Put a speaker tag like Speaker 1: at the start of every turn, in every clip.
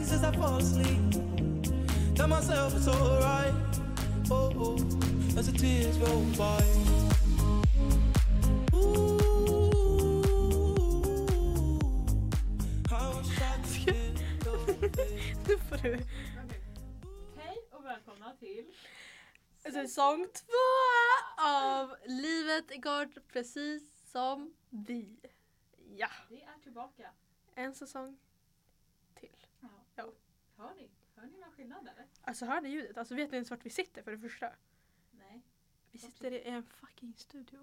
Speaker 1: as I fall asleep. Tell myself it's alright. Oh, oh, as the tears roll by. Ooh, how shocked
Speaker 2: Nu får du.
Speaker 3: Hej och välkomna till
Speaker 2: Alltså, Säsong två av Livet igår precis som vi. Ja,
Speaker 3: Vi är tillbaka.
Speaker 2: en säsong till. Ja.
Speaker 3: Hör ni? Hör ni någon skillnad eller?
Speaker 2: Alltså hör ni ljudet? Alltså vet ni ens vart vi sitter för det första?
Speaker 3: Nej.
Speaker 2: Vi sitter i en fucking studio.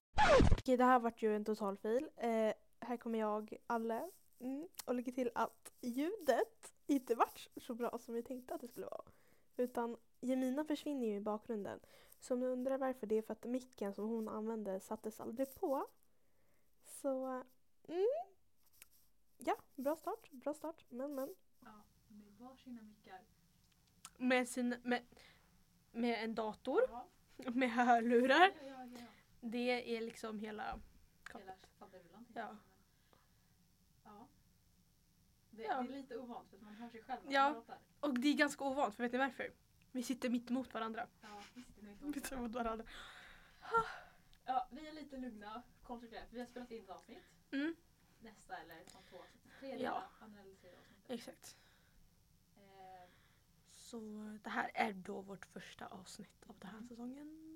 Speaker 4: Okej, det här vart ju en totalfil. Eh, här kommer jag, Alle, mm, och lägga till att ljudet inte vart så bra som vi tänkte att det skulle vara. Utan Jemina försvinner ju i bakgrunden. Så om ni undrar varför, det är för att micken som hon använde sattes aldrig på. Så, mm. Ja, bra start, bra start. Men, men.
Speaker 3: Ja, med varsina mickar.
Speaker 2: Med, sin, med, med en dator,
Speaker 3: Ja,
Speaker 2: med
Speaker 3: ja,
Speaker 2: hörlurar.
Speaker 3: ja, ja.
Speaker 2: Det är liksom hela...
Speaker 3: Hela faderullan. tänkte
Speaker 2: Ja.
Speaker 3: jag, men- Ja. Det,
Speaker 2: Ja.
Speaker 3: det är lite ovant för att man hör sig själv när
Speaker 2: Ja.
Speaker 3: man pratar.
Speaker 2: Och det är ganska ovant, för vet ni varför? Vi sitter mitt emot varandra.
Speaker 3: Ja, visst, det är inte
Speaker 2: Vi
Speaker 3: ovant.
Speaker 2: sitter mot varandra.
Speaker 3: Ja, vi är lite lugna koncentrerat. Vi har spelat in ett avsnitt.
Speaker 2: Mm,
Speaker 3: Nästa eller om två avsnitt. Tredje,
Speaker 2: Ja.
Speaker 3: andra eller tredje avsnittet.
Speaker 2: exakt.
Speaker 3: Eh,
Speaker 2: Så det här är då vårt första avsnitt av den här säsongen.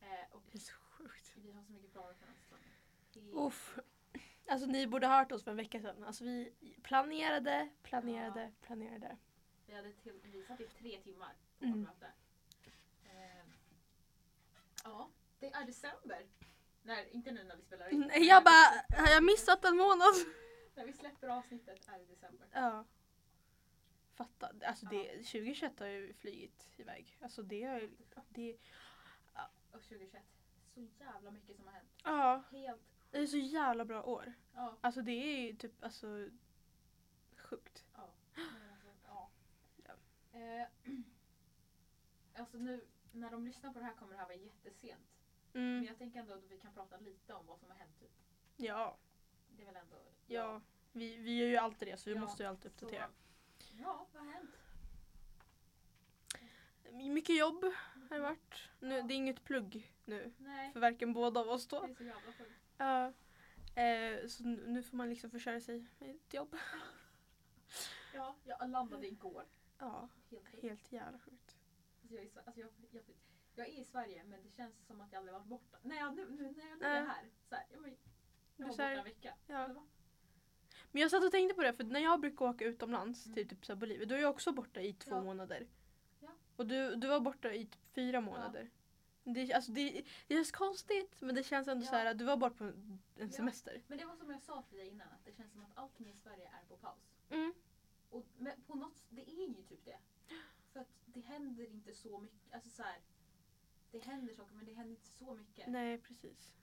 Speaker 3: eh, och
Speaker 2: Det är så sjukt.
Speaker 3: vi har så mycket planer för den här säsongen. Helt
Speaker 2: Uff. Alltså ni borde ha hört oss för en vecka sedan. Alltså vi planerade, planerade, planerade.
Speaker 3: Vi hade till, vi satt i tre timmar på
Speaker 2: Mm.
Speaker 3: vårt möte. Eh, ja, det är december. Nej, inte nu när vi spelar in.
Speaker 2: Nej, Mm, Jag bara, har jag missat en månad?
Speaker 3: När vi släpper avsnittet är det december.
Speaker 2: Ja. Fatta. Alltså det, 2021 har ju flugit iväg. Alltså det har ju, det,
Speaker 3: Och 2021, så jävla mycket som har hänt.
Speaker 2: ja.
Speaker 3: Helt,
Speaker 2: Det är så jävla bra år.
Speaker 3: ja.
Speaker 2: Alltså det är ju typ, alltså sjukt.
Speaker 3: men Alltså, ja. Eh, alltså nu, när de lyssnar på det här kommer det här vara jättesent. Men
Speaker 2: Mm.
Speaker 3: jag tänker ändå att vi kan prata lite om vad som har hänt. Typ.
Speaker 2: Ja,
Speaker 3: Det är väl ändå...
Speaker 2: ja. Vi, vi gör ju alltid det så vi
Speaker 3: Ja,
Speaker 2: måste ju alltid uppdatera.
Speaker 3: Så, ja, vad har hänt?
Speaker 2: Mycket jobb har det varit. Nu, det är inget plugg nu.
Speaker 3: Nej,
Speaker 2: För varken båda av oss då.
Speaker 3: det är så jävla sjukt.
Speaker 2: Ja. Eh, så nu nu får man liksom försörja sig med ett jobb.
Speaker 3: Ja, jag landade igår.
Speaker 2: Ja,
Speaker 3: Helt sjukt.
Speaker 2: helt jävla sjukt.
Speaker 3: alltså jag, är, i Sve- alltså jag, jag, jag är i Sverige men det känns som att jag aldrig varit borta. Nej, jag, nu, nu, när jag nu är
Speaker 2: Nej.
Speaker 3: här. Så här jag, var- jag
Speaker 2: Du
Speaker 3: var
Speaker 2: så här-
Speaker 3: borta en vecka.
Speaker 2: Ja.
Speaker 3: Det var-
Speaker 2: Men jag satt och tänkte på det, för när jag brukar åka utomlands
Speaker 3: Mm.
Speaker 2: till typ så här Bolivia, då är jag också borta i två
Speaker 3: Ja.
Speaker 2: månader.
Speaker 3: Ja.
Speaker 2: Och du, du var borta i typ fyra månader. Det, alltså det, det känns konstigt men det känns ändå
Speaker 3: Ja.
Speaker 2: så här att du var borta på en
Speaker 3: Ja.
Speaker 2: semester.
Speaker 3: Men det var som jag sa till dig innan, att det känns som att allting i Sverige är på paus.
Speaker 2: Mm.
Speaker 3: Och, men på något s- det är ju typ det. För att det händer inte så mycket. Alltså så här, det händer saker men det händer inte så mycket.
Speaker 2: Nej precis.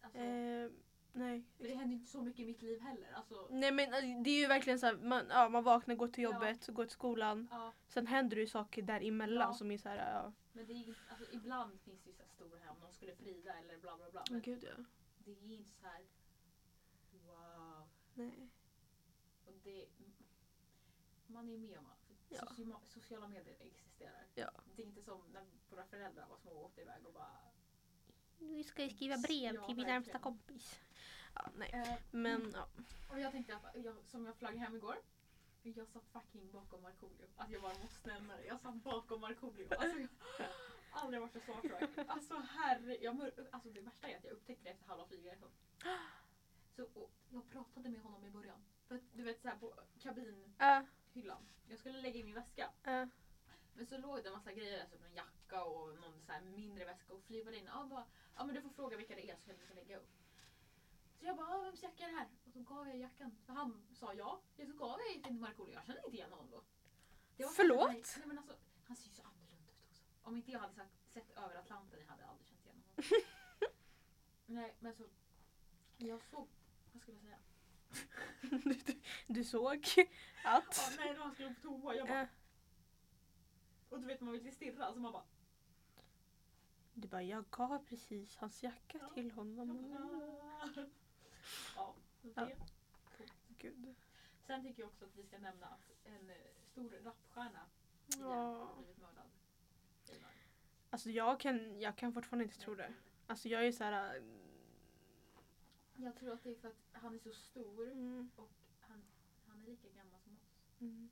Speaker 3: Alltså,
Speaker 2: Eh, nej.
Speaker 3: för det händer ju inte så mycket i mitt liv heller. Alltså,
Speaker 2: Nej men eh, det är ju verkligen så här, man, ja, man vaknar, går till
Speaker 3: Ja.
Speaker 2: jobbet, går till skolan.
Speaker 3: ja,
Speaker 2: Sen händer det ju saker däremellan
Speaker 3: Ja.
Speaker 2: som är så här, ja.
Speaker 3: men det är, inte- alltså, ibland finns det ju så här stora hem, de skulle frida eller bla bla bla.
Speaker 2: Men
Speaker 3: Men
Speaker 2: gud ja.
Speaker 3: det är inte så här. wow.
Speaker 2: Nej.
Speaker 3: Och det, man är ju med om allt.
Speaker 2: Ja.
Speaker 3: Soci- Sociala medier existerar.
Speaker 2: Ja.
Speaker 3: Det är inte som när våra föräldrar var små och åkte iväg och bara...
Speaker 2: Nu ska jag skriva
Speaker 3: brev Ja, till min närmsta verkligen.
Speaker 2: kompis. Ja, nej.
Speaker 3: Eh,
Speaker 2: Men ja.
Speaker 3: och jag tänkte, att jag, som jag flög hem igår. Jag satt fucking bakom Markoolio. Alltså jag bara måste nämna det. Jag satt bakom Markoolio. Alltså jag har aldrig varit så svartsjuk. Alltså herre, jag mör, alltså det värsta är att jag upptäckte det efter halva flygresan. Så, och jag pratade med honom i början. För att, du vet såhär på kabinhyllan.
Speaker 2: Äh,
Speaker 3: Jag skulle lägga i min väska.
Speaker 2: äh,
Speaker 3: Men så låg det en massa grejer, alltså en jacka och någon så här mindre väska och flygade in. Ja, bara, ja men du får fråga vilka det är så kan du inte lägga upp. Så jag bara, ja, vems jacka är det här? Och så gav jag jackan. Så han sa ja. Ja, Så gav jag till Markoolio. Jag kände inte igen honom då.
Speaker 2: Förlåt?
Speaker 3: Nej, nej, men alltså, han ser ju så annorlunda ut också. Om inte jag hade sagt, sett över Atlanten jag hade jag aldrig känt igen honom. nej men så, jag såg, vad skulle jag säga?
Speaker 2: du, du, du såg att...
Speaker 3: Ja, nej, när han skulle på toa. Jag bara,
Speaker 2: Äh,
Speaker 3: och du vet man vill ju stirra så man bara,
Speaker 2: du bara, jag gav precis hans jacka
Speaker 3: Ja.
Speaker 2: till honom.
Speaker 3: Ja, det.
Speaker 2: Gud.
Speaker 3: Sen tycker jag också att vi ska nämna att en eh, stor rapstjärna igen
Speaker 2: Ja.
Speaker 3: har blivit mördad. i Iran.
Speaker 2: Alltså jag kan, jag kan fortfarande inte tro det. Alltså jag är så här. äh,
Speaker 3: Jag tror att det är för att han är så stor
Speaker 2: Mm,
Speaker 3: och han, han är lika gammal som oss.
Speaker 2: mm.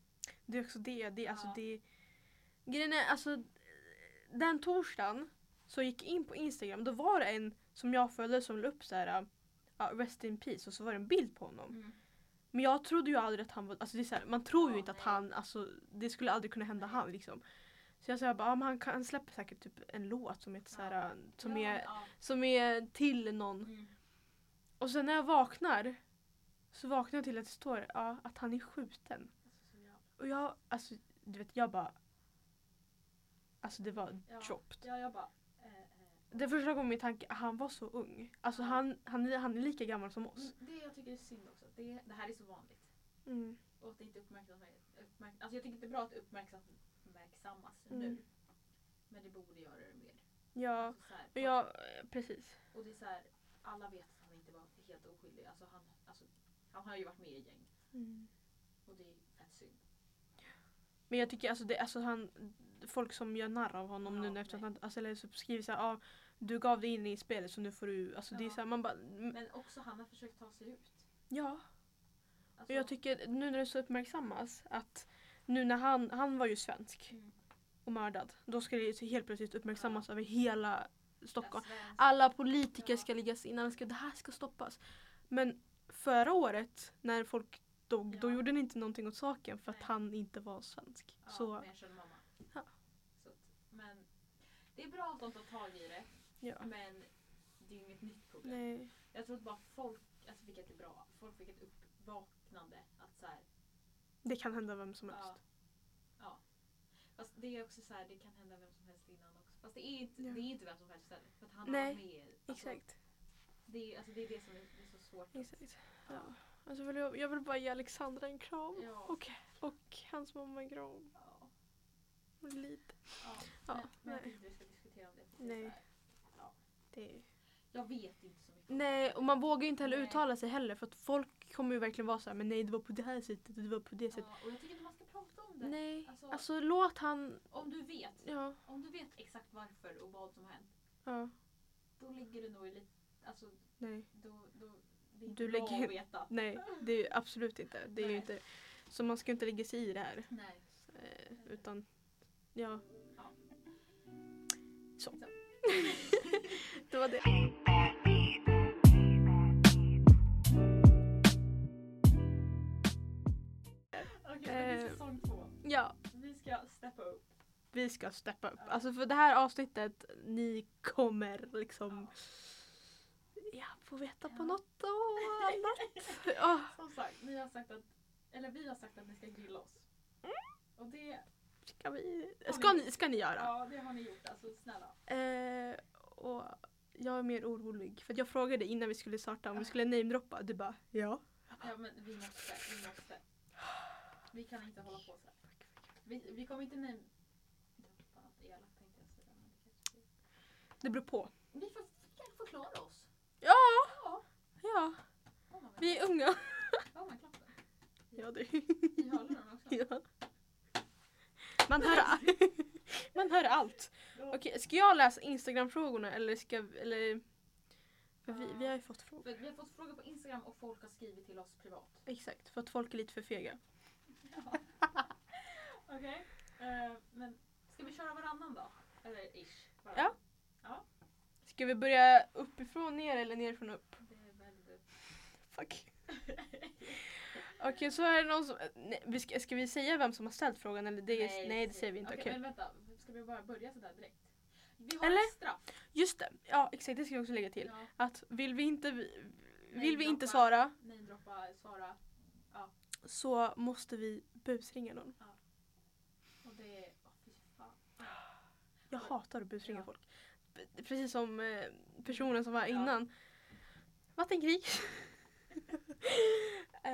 Speaker 2: Det är också det. det är alltså
Speaker 3: Ja.
Speaker 2: det. Grejen är alltså. Den torsdagen så gick jag in på Instagram. Då var det en som jag följde som la upp så här. äh, Ja, rest in peace och så var det en bild på honom. Men jag trodde ju aldrig att han var, alltså det är så här, man tror ju
Speaker 3: Ja,
Speaker 2: inte att
Speaker 3: nej.
Speaker 2: han, alltså det skulle aldrig kunna hända han liksom. Så jag sa bara, ja, men han, kan, han släpper säkert typ en låt som är, så här, äh, som,
Speaker 3: Ja,
Speaker 2: är,
Speaker 3: ja.
Speaker 2: som är till någon.
Speaker 3: Mm.
Speaker 2: Och sen när jag vaknar så vaknar jag till att det står ja, att han är skjuten.
Speaker 3: Alltså, så jävla-
Speaker 2: Och jag, alltså du vet jag bara Alltså det var
Speaker 3: Ja.
Speaker 2: dropped.
Speaker 3: Ja, jag bara... Eh, eh.
Speaker 2: Det första gången min tanke, han var så ung. Alltså
Speaker 3: Ja.
Speaker 2: han, han, är- han är lika gammal som oss.
Speaker 3: Men Mm, det jag tycker är synd också, det, det här är så vanligt.
Speaker 2: Mm.
Speaker 3: Och att det inte uppmärksammas. Uppmärk, alltså jag tycker inte det är bra att det uppmärksammas
Speaker 2: Mm.
Speaker 3: nu. Men det borde göra det mer.
Speaker 2: Ja,
Speaker 3: Alltså, så här,
Speaker 2: och jag, precis.
Speaker 3: Och det är så här, alla vet att han inte var helt oskyldig. Alltså han, alltså, han har ju varit med i gäng. Och det är fett synd.
Speaker 2: Men jag tycker alltså, det, alltså han, folk som gör narr av honom
Speaker 3: Ja,
Speaker 2: nu nu efter att
Speaker 3: nej.
Speaker 2: han, alltså, eller så skriver såhär, ah, du gav dig in i spelet så nu får du, alltså det är
Speaker 3: Ja.
Speaker 2: såhär man bara, mm,
Speaker 3: Men också han har försökt ta sig ut.
Speaker 2: ja.
Speaker 3: Alltså,
Speaker 2: Och jag tycker nu när det så uppmärksammas att nu när han, han var ju svensk
Speaker 3: Mm.
Speaker 2: och mördad. Då ska det ju helt plötsligt uppmärksammas över hela Stockholm.
Speaker 3: Svenskt.
Speaker 2: Alla politiker
Speaker 3: Alltså, Ja.
Speaker 2: ska läggas in, alla ska, det här ska stoppas. Men förra året när folk dog, då
Speaker 3: Ja.
Speaker 2: gjorde ni inte någonting åt saken för att
Speaker 3: Nej.
Speaker 2: han inte var svensk.
Speaker 3: Ja,
Speaker 2: Så
Speaker 3: men jag känner mamma.
Speaker 2: Ja.
Speaker 3: Så att, men det är bra att de tar tag i det.
Speaker 2: ja.
Speaker 3: Men det är ju inget nytt problem.
Speaker 2: Nej.
Speaker 3: Jag tror att bara folk, alltså vilket är bra, folk fick ett uppvaknande. Att så här,
Speaker 2: Det kan hända vem som helst.
Speaker 3: ja, alltså. ja. Fast det är också så här, det kan hända vem som helst innan också. Fast det är inte,
Speaker 2: Ja.
Speaker 3: det är inte vem som helst heller. För att han
Speaker 2: Nej,
Speaker 3: har varit med. i- Alltså,
Speaker 2: Exakt.
Speaker 3: Det är, alltså, det är det som är, det är så svårt.
Speaker 2: Exakt. Ja. Alltså, vill jag, jag vill bara ge Alexandra en kram.
Speaker 3: Ja.
Speaker 2: Och, och hans mamma en kram.
Speaker 3: Ja.
Speaker 2: Och lite.
Speaker 3: Ja.
Speaker 2: Ja,
Speaker 3: Men, men
Speaker 2: nej.
Speaker 3: jag tycker inte vi ska diskutera om det. för det är
Speaker 2: Nej.
Speaker 3: så här,
Speaker 2: Det är...
Speaker 3: Jag vet inte så mycket. om
Speaker 2: Nej,
Speaker 3: det.
Speaker 2: och man vågar ju inte heller
Speaker 3: Nej.
Speaker 2: uttala sig heller för att folk kommer ju verkligen vara så här, men nej det var på det här sättet och det var på det sättet.
Speaker 3: Ja, och jag tycker inte man ska prata om det.
Speaker 2: Nej,
Speaker 3: Alltså-
Speaker 2: alltså låt han,
Speaker 3: Om du vet.
Speaker 2: ja.
Speaker 3: Om du vet exakt varför och vad som har hänt.
Speaker 2: ja
Speaker 3: Då ligger det nog i lite... Alltså,
Speaker 2: nej.
Speaker 3: då, då, det är inte
Speaker 2: Du
Speaker 3: bra
Speaker 2: lägger-
Speaker 3: att veta.
Speaker 2: nej, det är ju absolut inte. Det är ju
Speaker 3: Nej.
Speaker 2: inte. Så man ska inte lägga sig i det här.
Speaker 3: Nej.
Speaker 2: eh, Utan, ja.
Speaker 3: Ja.
Speaker 2: Så.
Speaker 3: Så.
Speaker 2: det var det.
Speaker 3: Okej, men det är
Speaker 2: Eh.
Speaker 3: säsong två.
Speaker 2: Ja,
Speaker 3: Vi ska steppa upp.
Speaker 2: vi ska steppa upp.
Speaker 3: Ja.
Speaker 2: Alltså för det här avsnittet, ni kommer liksom ja, få veta på
Speaker 3: Ja.
Speaker 2: något och annat. Ja.
Speaker 3: Som sagt, ni har sagt att... Eller vi har sagt att ni ska grilla oss.
Speaker 2: Mm.
Speaker 3: Och det,
Speaker 2: ska vi,
Speaker 3: Har
Speaker 2: ska
Speaker 3: ni-
Speaker 2: ni, ska ni göra.
Speaker 3: ja, det har ni gjort. Alltså snälla.
Speaker 2: Eh, och jag är mer orolig för att jag frågade innan vi skulle starta om vi skulle namedroppa. Du bara ja.
Speaker 3: Ja, men vi måste. Vi måste. Vi kan inte hålla på så här. Vi, vi kommer inte name... Droppa något elakt tänkte jag säga. men det kanske blir-
Speaker 2: Det beror på.
Speaker 3: Vi får, vi kan förklara oss.
Speaker 2: Ja,
Speaker 3: Ja.
Speaker 2: ja.
Speaker 3: Oh my God.
Speaker 2: Vi är unga.
Speaker 3: Oh my klappen.
Speaker 2: Ja du.
Speaker 3: I hörlurarna också.
Speaker 2: Ja. Man hör, a- man hör allt.
Speaker 3: Ja.
Speaker 2: Okej, ska jag läsa Instagram-frågorna eller ska eller, för vi, vi har ju fått frågor.
Speaker 3: För vi har fått frågor på Instagram och folk har skrivit till oss privat.
Speaker 2: Exakt, för att folk är lite för fega.
Speaker 3: Okej. eh, men ska vi köra varannan då? Eller ish.
Speaker 2: Ja. Ska vi börja uppifrån ner eller nerifrån upp?
Speaker 3: Det är väldigt...
Speaker 2: Fuck. Okej, så är det någon som... Nej, vi ska, ska vi säga vem som har ställt frågan? Eller det, nej, det säger vi inte.
Speaker 3: Okej,
Speaker 2: Okej.
Speaker 3: men vänta. Ska vi bara börja sådär direkt? Vi har
Speaker 2: Eller?
Speaker 3: ett straff.
Speaker 2: Just det. Ja, exakt. Det ska jag också lägga till.
Speaker 3: Ja,
Speaker 2: Att vill vi inte, vill vi
Speaker 3: droppa.
Speaker 2: inte svara
Speaker 3: namedroppa, svara.
Speaker 2: så måste vi busringa någon.
Speaker 3: Och det är... åh, fy fan.
Speaker 2: Jag hatar att busringa
Speaker 3: Ja.
Speaker 2: folk. P- Precis som eh, personen som var
Speaker 3: Ja.
Speaker 2: innan. Vattenkrig. eh,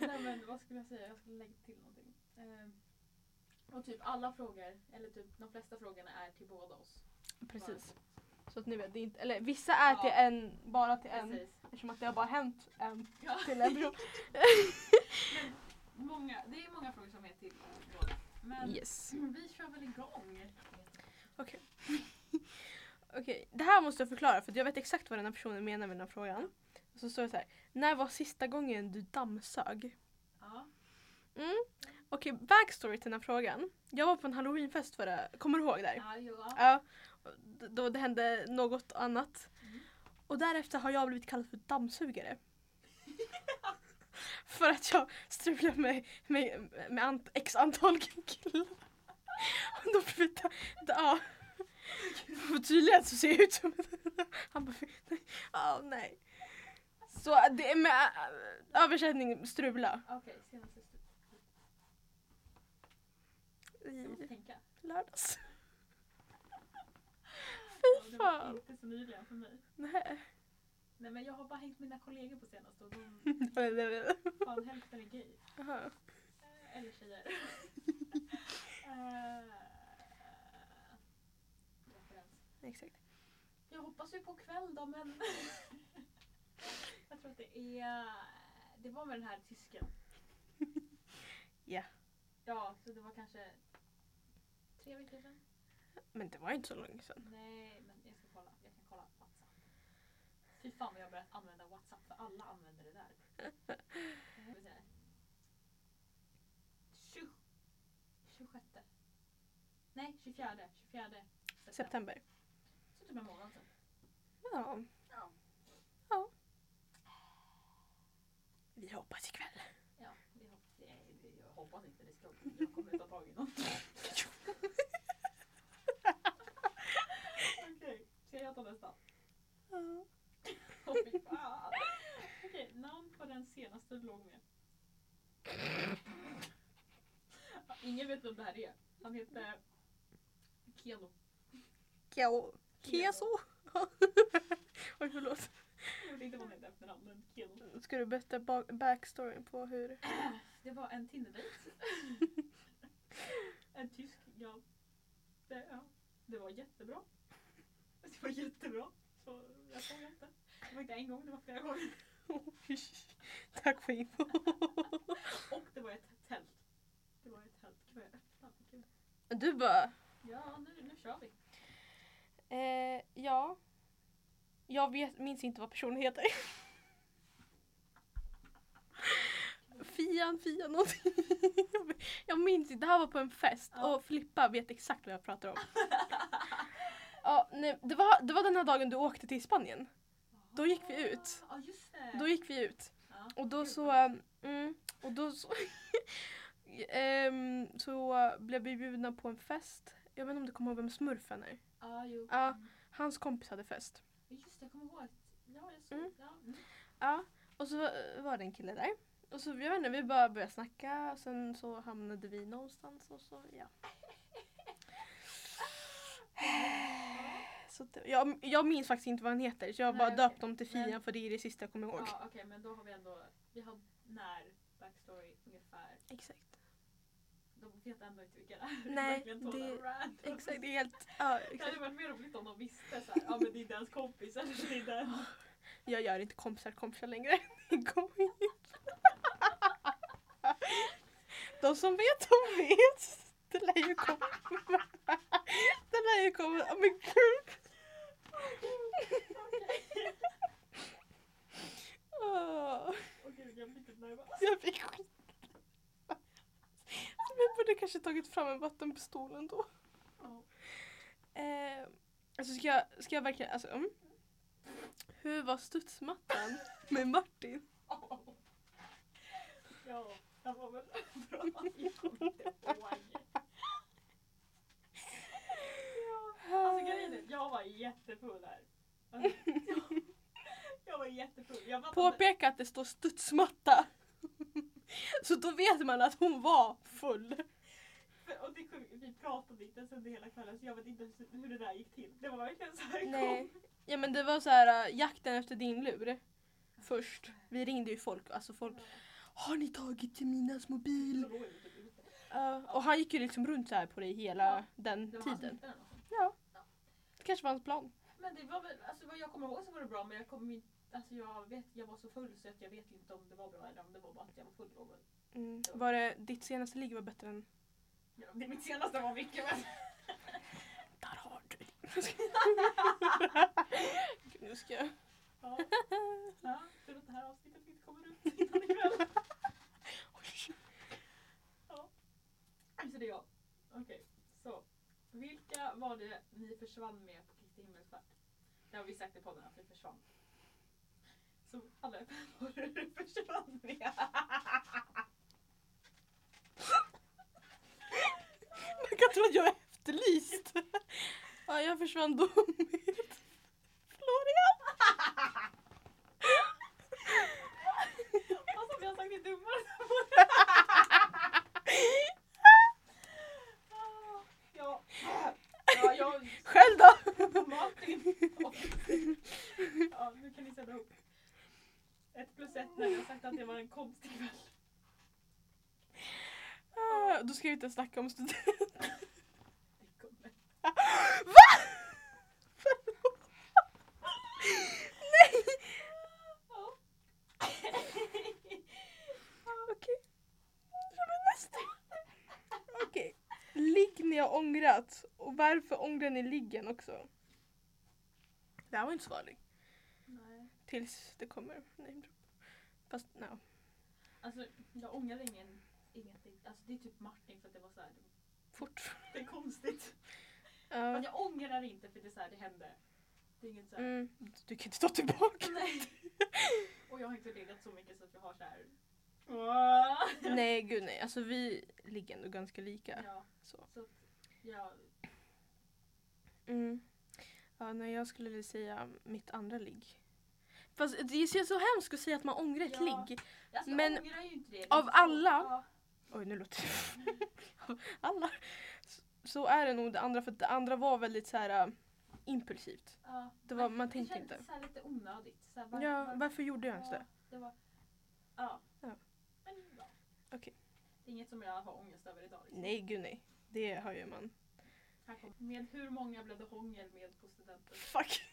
Speaker 3: Nej men vad skulle jag säga? Jag skulle lägga till någonting. Eh, och typ alla frågor, eller typ de flesta frågorna är till båda oss.
Speaker 2: precis. Så att ni vet, det är inte, eller vissa är
Speaker 3: Ja.
Speaker 2: till en, bara till en.
Speaker 3: Precis.
Speaker 2: Eftersom att det har bara hänt en
Speaker 3: Ja.
Speaker 2: till en person.
Speaker 3: Men Men
Speaker 2: Yes.
Speaker 3: vi kör väl igång.
Speaker 2: Okej, det här måste jag förklara för att jag vet exakt vad den här personen menar med den här frågan. Så står det så här. När var sista gången du dammsög?
Speaker 3: Ja.
Speaker 2: Mm. Okej, backstory till den här frågan. Jag var på en halloweenfest förra, kommer du ihåg det?
Speaker 3: Ja, ja.
Speaker 2: Ja, d- då det hände något annat.
Speaker 3: Mm.
Speaker 2: Och därefter har jag blivit kallad för dammsugare. för att jag strulade med, med, med ant, x antal killar. Och då blev det... Ja. För tydligen så ser jag ut som... Han bara... nej, Ja, nej. Så det är med äh, översättning strula.
Speaker 3: Okej, senaste stund. Jag måste
Speaker 2: I
Speaker 3: tänka.
Speaker 2: lördags.
Speaker 3: Ja, Det var
Speaker 2: fan.
Speaker 3: inte så nyligen för mig.
Speaker 2: Nej.
Speaker 3: Nej men jag har bara hängt med mina kollegor på senaste och de, fan hälften är gay.
Speaker 2: Jaha.
Speaker 3: Eh, Eller tjejer. Eh, referens.
Speaker 2: Exakt.
Speaker 3: jag hoppas ju på kväll då men... jag tror att det är... Det var med den här tysken.
Speaker 2: Ja.
Speaker 3: Ja, så det var kanske tre veckor sedan.
Speaker 2: Men det var ju inte så länge sedan.
Speaker 3: Nej, men jag ska kolla. Jag kan kolla WhatsApp. Fy fan vad jag har börjat använda WhatsApp för alla använder det där. Ska vi se. Tju- 26. Nej, 24. 24 september.
Speaker 2: September.
Speaker 3: Så typ en månad sedan.
Speaker 2: Ja.
Speaker 3: Ja.
Speaker 2: Ja. Vi hoppas ikväll.
Speaker 3: Ja, vi hoppas, nej, det- jag hoppas inte det ska Jag kommer ta tag i något. Okej, ska jag ta nästa?
Speaker 2: Ja.
Speaker 3: Åh, fy fan. Okej, namn på den senaste du låg med. Ja, Ingen vet vem det här är. Han hette Keno.
Speaker 2: Keo. Keso. Oj förlåt.
Speaker 3: Jag vet inte vad han hette efternamn, men Keno.
Speaker 2: Ska du berätta ba- backstoryn på hur?
Speaker 3: Det var en Tinder-dejt. en tysk, ja. Det, ja. det var jättebra. Det var jättebra. Så jag såg inte. Det var inte en gång, det var flera gånger.
Speaker 2: Tack för info.
Speaker 3: Och det var ett tält. Det var ett tält. Gud vad jag öppnade. Gud.
Speaker 2: Du bara.
Speaker 3: Ja, nu, nu kör vi.
Speaker 2: Eh, ja. Jag vet, minns inte vad personen heter. Fian, Fian någonting. Jag minns inte, det här var på en fest
Speaker 3: Ja.
Speaker 2: och Filippa vet exakt vad jag pratar om. Ja, nej, det, var, det var den här dagen du åkte till Spanien. Då gick vi ut.
Speaker 3: Ja, just det.
Speaker 2: Då gick vi ut
Speaker 3: ja.
Speaker 2: och då
Speaker 3: Gud,
Speaker 2: så...
Speaker 3: vad-
Speaker 2: ehm, Mm, och då så... ehm, så blev vi bjudna på en fest. Jag vet inte om du kommer ihåg vem smurfen är?
Speaker 3: Ja, jo.
Speaker 2: Ja.
Speaker 3: Mm.
Speaker 2: Hans kompis hade fest.
Speaker 3: Just det, jag kommer ihåg. att- Ja, jag såg.
Speaker 2: Mm.
Speaker 3: Ja. Mm.
Speaker 2: Ja, och så var det en kille där. Och så, jag vet inte, vi bara började snacka och sen så hamnade vi någonstans och så, ja. Så det, jag, jag minns faktiskt inte vad han heter så jag har
Speaker 3: Nej,
Speaker 2: bara
Speaker 3: okej.
Speaker 2: döpt dem till Fian
Speaker 3: Men-
Speaker 2: för det är det sista jag kommer ihåg.
Speaker 3: Ja, okej, men då har vi ändå... Vi har när backstory ungefär.
Speaker 2: Exakt.
Speaker 3: De vet ändå inte vilka det är.
Speaker 2: Nej,
Speaker 3: Verkligen totally
Speaker 2: det-
Speaker 3: random.
Speaker 2: Exakt, det är helt... Ja,
Speaker 3: Det
Speaker 2: exakt.
Speaker 3: hade varit mer roligt om de visste såhär, ja men det är inte ens kompis eller det är inte ens...
Speaker 2: Jag gör inte kompisar kompisar längre. Det går inte. De som vet, de vet. Det lär ju komma. Det lär ju komma. Ja, Men gud. Åh,
Speaker 3: Okej, jag blir lite nervös.
Speaker 2: jag fick skit. Jag borde kanske tagit fram en vattenpistol ändå.
Speaker 3: Ja.
Speaker 2: Eh, alltså ska jag, ska jag verkligen, alltså. Mm. Hur var studsmattan med Martin?
Speaker 3: Ja, det var väl bra. Alltså, Jag kommer inte ihåg. Ja, alltså grejen är, jag var jättefull här. Alltså, jag- Jag var jättefull. Jag var
Speaker 2: Påpeka att det står studsmatta. Så då vet man att hon var full.
Speaker 3: och det, kom- vi pratade inte ens under hela kvällen så jag vet inte ens hur det där gick till. Det var verkligen så här
Speaker 2: Nej.
Speaker 3: kom-
Speaker 2: Ja men det var så här äh, jakten efter din lur. Först. Vi ringde ju folk, alltså folk. Har ni tagit Jeminas mobil?
Speaker 3: Så låg jag typ ute.
Speaker 2: Ja, och han gick ju liksom runt så här på dig hela
Speaker 3: Ja,
Speaker 2: den
Speaker 3: Det var han som
Speaker 2: tiden.
Speaker 3: hittade den också.
Speaker 2: Det kanske var hans plan.
Speaker 3: Men det var väl, alltså vad jag kommer ihåg så var det bra men jag kommer inte, alltså jag vet, jag var så full så att jag vet Mm. inte om det var bra eller om det var bara att jag var full. Och,
Speaker 2: Var det ditt senaste ligg var bättre än
Speaker 3: Ja, det är mitt senaste var mycket men...
Speaker 2: Där har du det. nu ska jag...
Speaker 3: Ja. Ja, för att det här avsnittet inte kommer ut innan ikväll. Alltså det är jag. Okej, så. Vilka var det ni försvann med på Kristi himmelsfärd? Det har vi sagt i podden att vi försvann. Så alla är fem år du försvann med.
Speaker 2: Man kan tro att jag är efterlyst. Ja, jag försvann då med Florian.
Speaker 3: Alltså vi har sagt det dummare än vad Ah, Ja. Ja, jag
Speaker 2: Själv då?
Speaker 3: på Martin. Och- Ja, nu kan ni sätta ihop. Ett plus ett när jag har sagt att det var en konstig kväll.
Speaker 2: Ah, Då ska vi inte snacka om studenten.
Speaker 3: Det kommer.
Speaker 2: Va? Förlåt. Nej!
Speaker 3: Ja.
Speaker 2: Ah, Okej. Ja, men nästa. Okej. Ligg ni har ångrat och varför ångrar ni liggen också? Det här var inte svarlig.
Speaker 3: Nej.
Speaker 2: Tills det kommer. Nej. Fast nej.
Speaker 3: Alltså, jag ångrar ingen, ingenting. Alltså, det är typ Martin för att det var så här,
Speaker 2: Fort.
Speaker 3: det är konstigt.
Speaker 2: Ja.
Speaker 3: Men jag ångrar inte för det är så här, det hände. Det är inget så här.
Speaker 2: Mm. Du kan inte ta tillbaka.
Speaker 3: Nej. Och jag har inte legat så mycket så att jag har så här. "Åh."
Speaker 2: Nej gud nej. Alltså vi ligger ändå ganska lika.
Speaker 3: Ja,
Speaker 2: Så.
Speaker 3: så att jag,
Speaker 2: Mm. Ja, nej, jag skulle säga mitt andra ligg. Fast det känns så hemskt att säga att man ångrar ett
Speaker 3: Ja.
Speaker 2: ligg.
Speaker 3: alltså, jag
Speaker 2: Men
Speaker 3: ångrar ju inte det. det. är
Speaker 2: av
Speaker 3: så-
Speaker 2: alla-
Speaker 3: Ja.
Speaker 2: Oj, nu låter det... Alla. S- Så är det nog det andra, för att det andra var väldigt så här äh, impulsivt.
Speaker 3: Ja.
Speaker 2: Det var- man
Speaker 3: Det
Speaker 2: tänkte
Speaker 3: kändes
Speaker 2: inte.
Speaker 3: så här lite onödigt. Så här, var-
Speaker 2: Ja,
Speaker 3: var-
Speaker 2: varför gjorde jag ens
Speaker 3: ja,
Speaker 2: det?
Speaker 3: det var, ja.
Speaker 2: Ja.
Speaker 3: Men ja.
Speaker 2: Okej.
Speaker 3: Det är inget som jag har ångest över idag. liksom.
Speaker 2: Nej, gud nej. Det höjer man.
Speaker 3: Här kommer- Med hur många blev det hångel med på studenten?
Speaker 2: Fuck.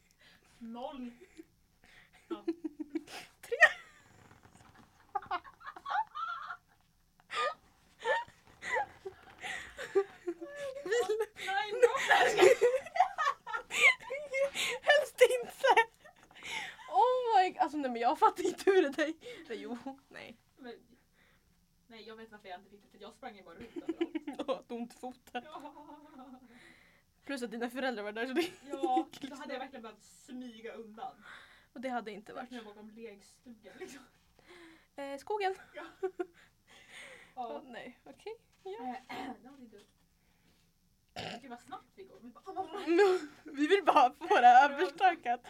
Speaker 3: Noll!
Speaker 2: Vill-
Speaker 3: Nej, noll!
Speaker 2: Helst inte! Oh my god. Alltså nej men jag fattar inte hur det där... Nej, Jo, nej.
Speaker 3: Men, nej, jag vet varför jag inte fick det. För jag sprang ju bara runt överallt.
Speaker 2: Jag har ont i foten.
Speaker 3: Ja,
Speaker 2: Plus att dina föräldrar var där så det...
Speaker 3: ja då hade jag verkligen behövt smyga undan.
Speaker 2: Och det hade inte
Speaker 3: Det
Speaker 2: varit.
Speaker 3: var bakom lekstugan liksom.
Speaker 2: Eh, skogen.
Speaker 3: Ja.
Speaker 2: Åh, nej, okej.
Speaker 3: Eh, det var det du. Gud vad snabbt vi går. Vi bara-
Speaker 2: Nu- vi vill bara få det här
Speaker 3: Ja.
Speaker 2: överstökat.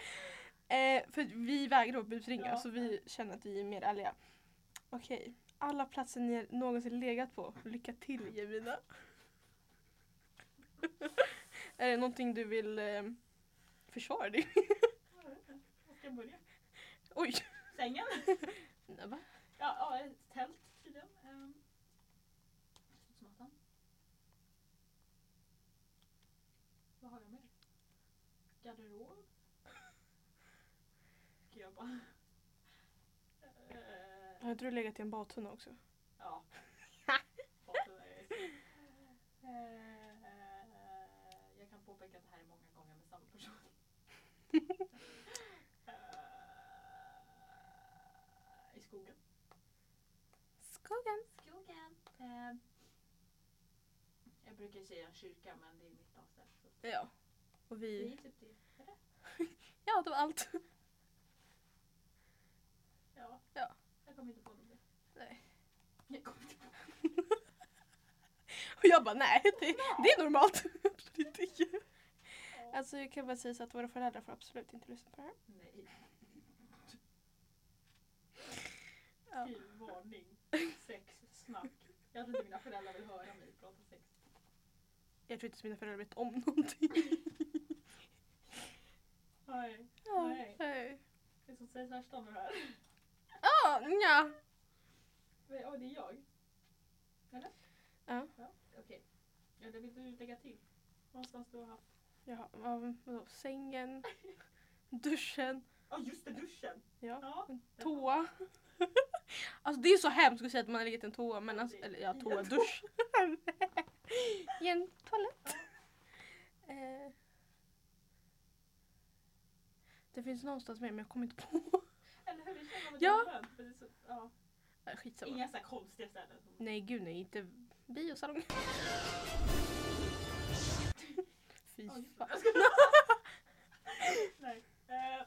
Speaker 2: Eh, för vi vägrar att busringa
Speaker 3: Ja.
Speaker 2: så vi känner att vi är mer ärliga. Okej, alla platser ni någonsin legat på. Lycka till Jemina. är det någonting du vill eh, försvara dig?
Speaker 3: Var ska jag börja?
Speaker 2: Oj!
Speaker 3: Sängen?
Speaker 2: Nej, va?
Speaker 3: Ja, ja ett tält tydligen. Ehm, Studsmattan. Vad har jag mer? Garderob? Gud, jag bara... Eh,
Speaker 2: Har inte du legat i en badtunna också?
Speaker 3: ja. Fått det där. Eh, Jag kan påpeka att det här är många gånger med samma person. Eh, I skogen.
Speaker 2: Skogen.
Speaker 3: Skogen. Eh, jag brukar säga en kyrka men det är mitt avställ. Så
Speaker 2: Ja. Och
Speaker 3: det
Speaker 2: vi...
Speaker 3: är typ det. Eller?
Speaker 2: Ja, det var allt.
Speaker 3: Ja.
Speaker 2: Ja.
Speaker 3: Jag kommer inte på något mer.
Speaker 2: Nej.
Speaker 3: Jag kommer inte på
Speaker 2: Och jag bara nej, det, det är normalt. Absolut inte.
Speaker 3: något.
Speaker 2: Alltså jag kan bara säga så att våra föräldrar får absolut inte lyssna på det här.
Speaker 3: Nej.
Speaker 2: Ja.
Speaker 3: Skriv varning. Sex. Snack. Jag tror inte mina föräldrar vill höra mig prata sex.
Speaker 2: Jag tror inte att mina föräldrar vet om någonting.
Speaker 3: Nej. Nej.
Speaker 2: Nej.
Speaker 3: Det är som sägs värst om det här.
Speaker 2: Ah, ja.
Speaker 3: Men, åh, det är jag. Eller?
Speaker 2: Ja.
Speaker 3: Okej. Ja, det vill du lägga till. Någonstans du har haft.
Speaker 2: Jaha, vad- vadå? Sängen, duschen,
Speaker 3: Ja, just det. Duschen.
Speaker 2: ja.
Speaker 3: Ja.
Speaker 2: toa. Alltså det är så hemskt att säga att man har legat i en toa, men alltså, eller ja, toa, dusch. I en toalett. Eh. Det finns någonstans med men jag kommer inte på.
Speaker 3: Eller hur? Det känns som att
Speaker 2: Ja.
Speaker 3: det är skönt, för det är så- ja.
Speaker 2: Eh, Skitsamma.
Speaker 3: Inga så här konstiga ställen.
Speaker 2: Nej gud nej, inte biosalong. Fy
Speaker 3: Ja, just det.
Speaker 2: fan.
Speaker 3: Nej. Eh,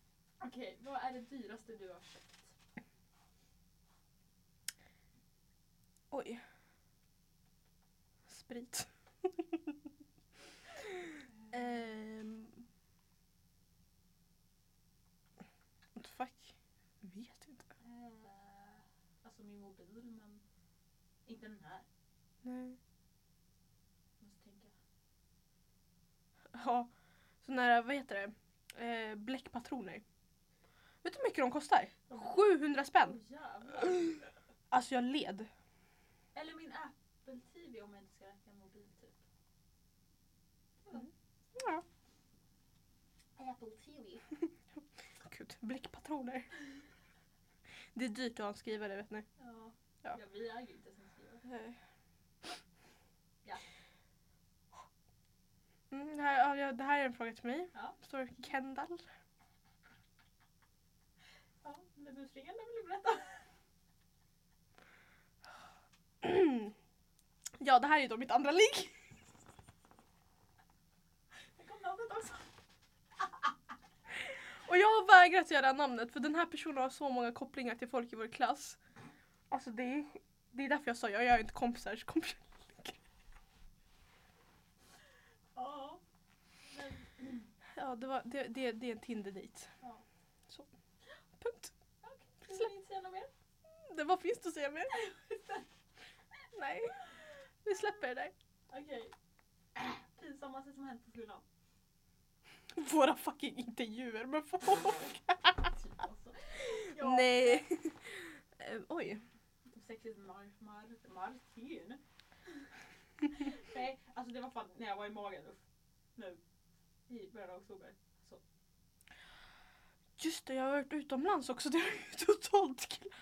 Speaker 3: Okej, vad är det dyraste du har köpt?
Speaker 2: Oj. Sprit. Ehm. What the fuck? Vet inte.
Speaker 3: Eh, alltså min mobil, men inte den här.
Speaker 2: Nej.
Speaker 3: Måste tänka.
Speaker 2: Ja. Såna här, vad heter det? Eh, bläckpatroner. Vet du hur mycket de kostar? 700
Speaker 3: Åh,
Speaker 2: spänn!
Speaker 3: jävlar.
Speaker 2: Alltså jag led.
Speaker 3: Eller min Apple TV om jag inte ska räkna mobil typ.
Speaker 2: Mm. Ja.
Speaker 3: Apple TV.
Speaker 2: Gud, bläckpatroner. Det är dyrt att ha en skrivare vet ni.
Speaker 3: Ja.
Speaker 2: Ja.
Speaker 3: Ja. vi äger ju inte ens en skrivare. Ja.
Speaker 2: Mm, det, här, ja, det här är en fråga till mig.
Speaker 3: Ja.
Speaker 2: Står Kendall.
Speaker 3: Ja, men det busringen den vill du berätta.
Speaker 2: ja, det här är ju då mitt andra ligg.
Speaker 3: Jag kom namnet också.
Speaker 2: Och jag har vägrat göra namnet för den här personen har så många kopplingar till folk i vår klass. Alltså det är, det är därför jag sa jag gör inte kompisars kompisar.
Speaker 3: Ja. Men,
Speaker 2: Ja, det, var, det, det, det är en Tinder-dejt.
Speaker 3: Ja.
Speaker 2: Så. Punkt.
Speaker 3: vill du inte säga något mer?
Speaker 2: Det, vad finns det att säga mer? Nej. Vi släpper det där.
Speaker 3: Okej. Pinsammaste som hänt på skolan.
Speaker 2: Våra fucking intervjuer med folk.
Speaker 3: Typ alltså.
Speaker 2: Nej. Eh, Oj.
Speaker 3: Sexigt mar, mar, Martin. Nej, alltså det var fan när jag var i magen. Uff. Nu. I början av oktober.
Speaker 2: Just det, jag har varit utomlands också. Det är ju totalt kul.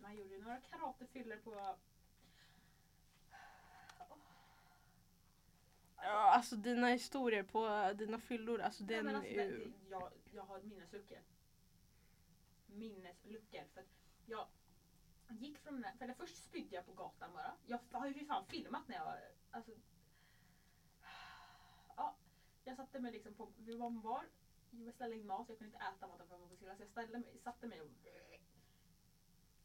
Speaker 3: Man gjorde ju några karatefyllor på...
Speaker 2: Ja, alltså dina historier på dina fyllor, alltså
Speaker 3: Nej,
Speaker 2: den
Speaker 3: men alltså,
Speaker 2: är
Speaker 3: den,
Speaker 2: ju...
Speaker 3: det- jag, jag har minnesluckor. Minnesluckor. För att jag gick från den här, för det först spydde jag på gatan bara. Jag har ju för fan filmat när jag... Alltså, ja, jag satte mig liksom på... Vi var en bar. Jag beställde in mat, jag kunde inte äta maten för att jag var på skolan. Så jag ställde mig, satte mig och...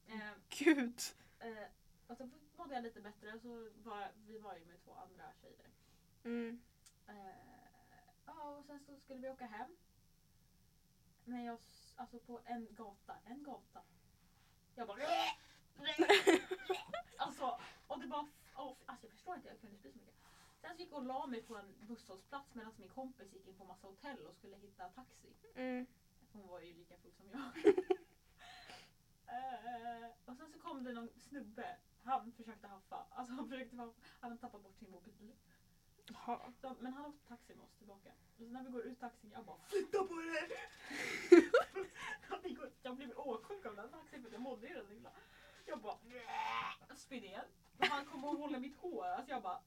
Speaker 3: Eh,
Speaker 2: Gud.
Speaker 3: eh, och så mådde jag lite bättre och så var vi var ju med två andra tjejer.
Speaker 2: Mm.
Speaker 3: Eh, Ja, och sen så skulle vi åka hem. Men jag, s- alltså på en gata, en gata. Jag bara... alltså, och det bara... åh, alltså jag förstår inte, jag kunde spy så mycket. Sen så gick jag och la mig på en busshållplats medan min kompis gick in på massa hotell och skulle hitta taxi.
Speaker 2: Mm.
Speaker 3: Hon var ju lika full som jag. Eh, och sen så kom det någon snubbe. Han försökte haffa. Alltså han försökte haffa. Han hade tappat bort sin mobil.
Speaker 2: Jaha.
Speaker 3: Så, men han åkte taxi med oss tillbaka. Och så när vi går ut taxin, jag bara flytta på dig! jag blev åksjuk av den taxin för att jag mådde ju redan illa. Jag bara "Bäh!" spydde igen. Och han kom och håller mitt hår. Alltså jag bara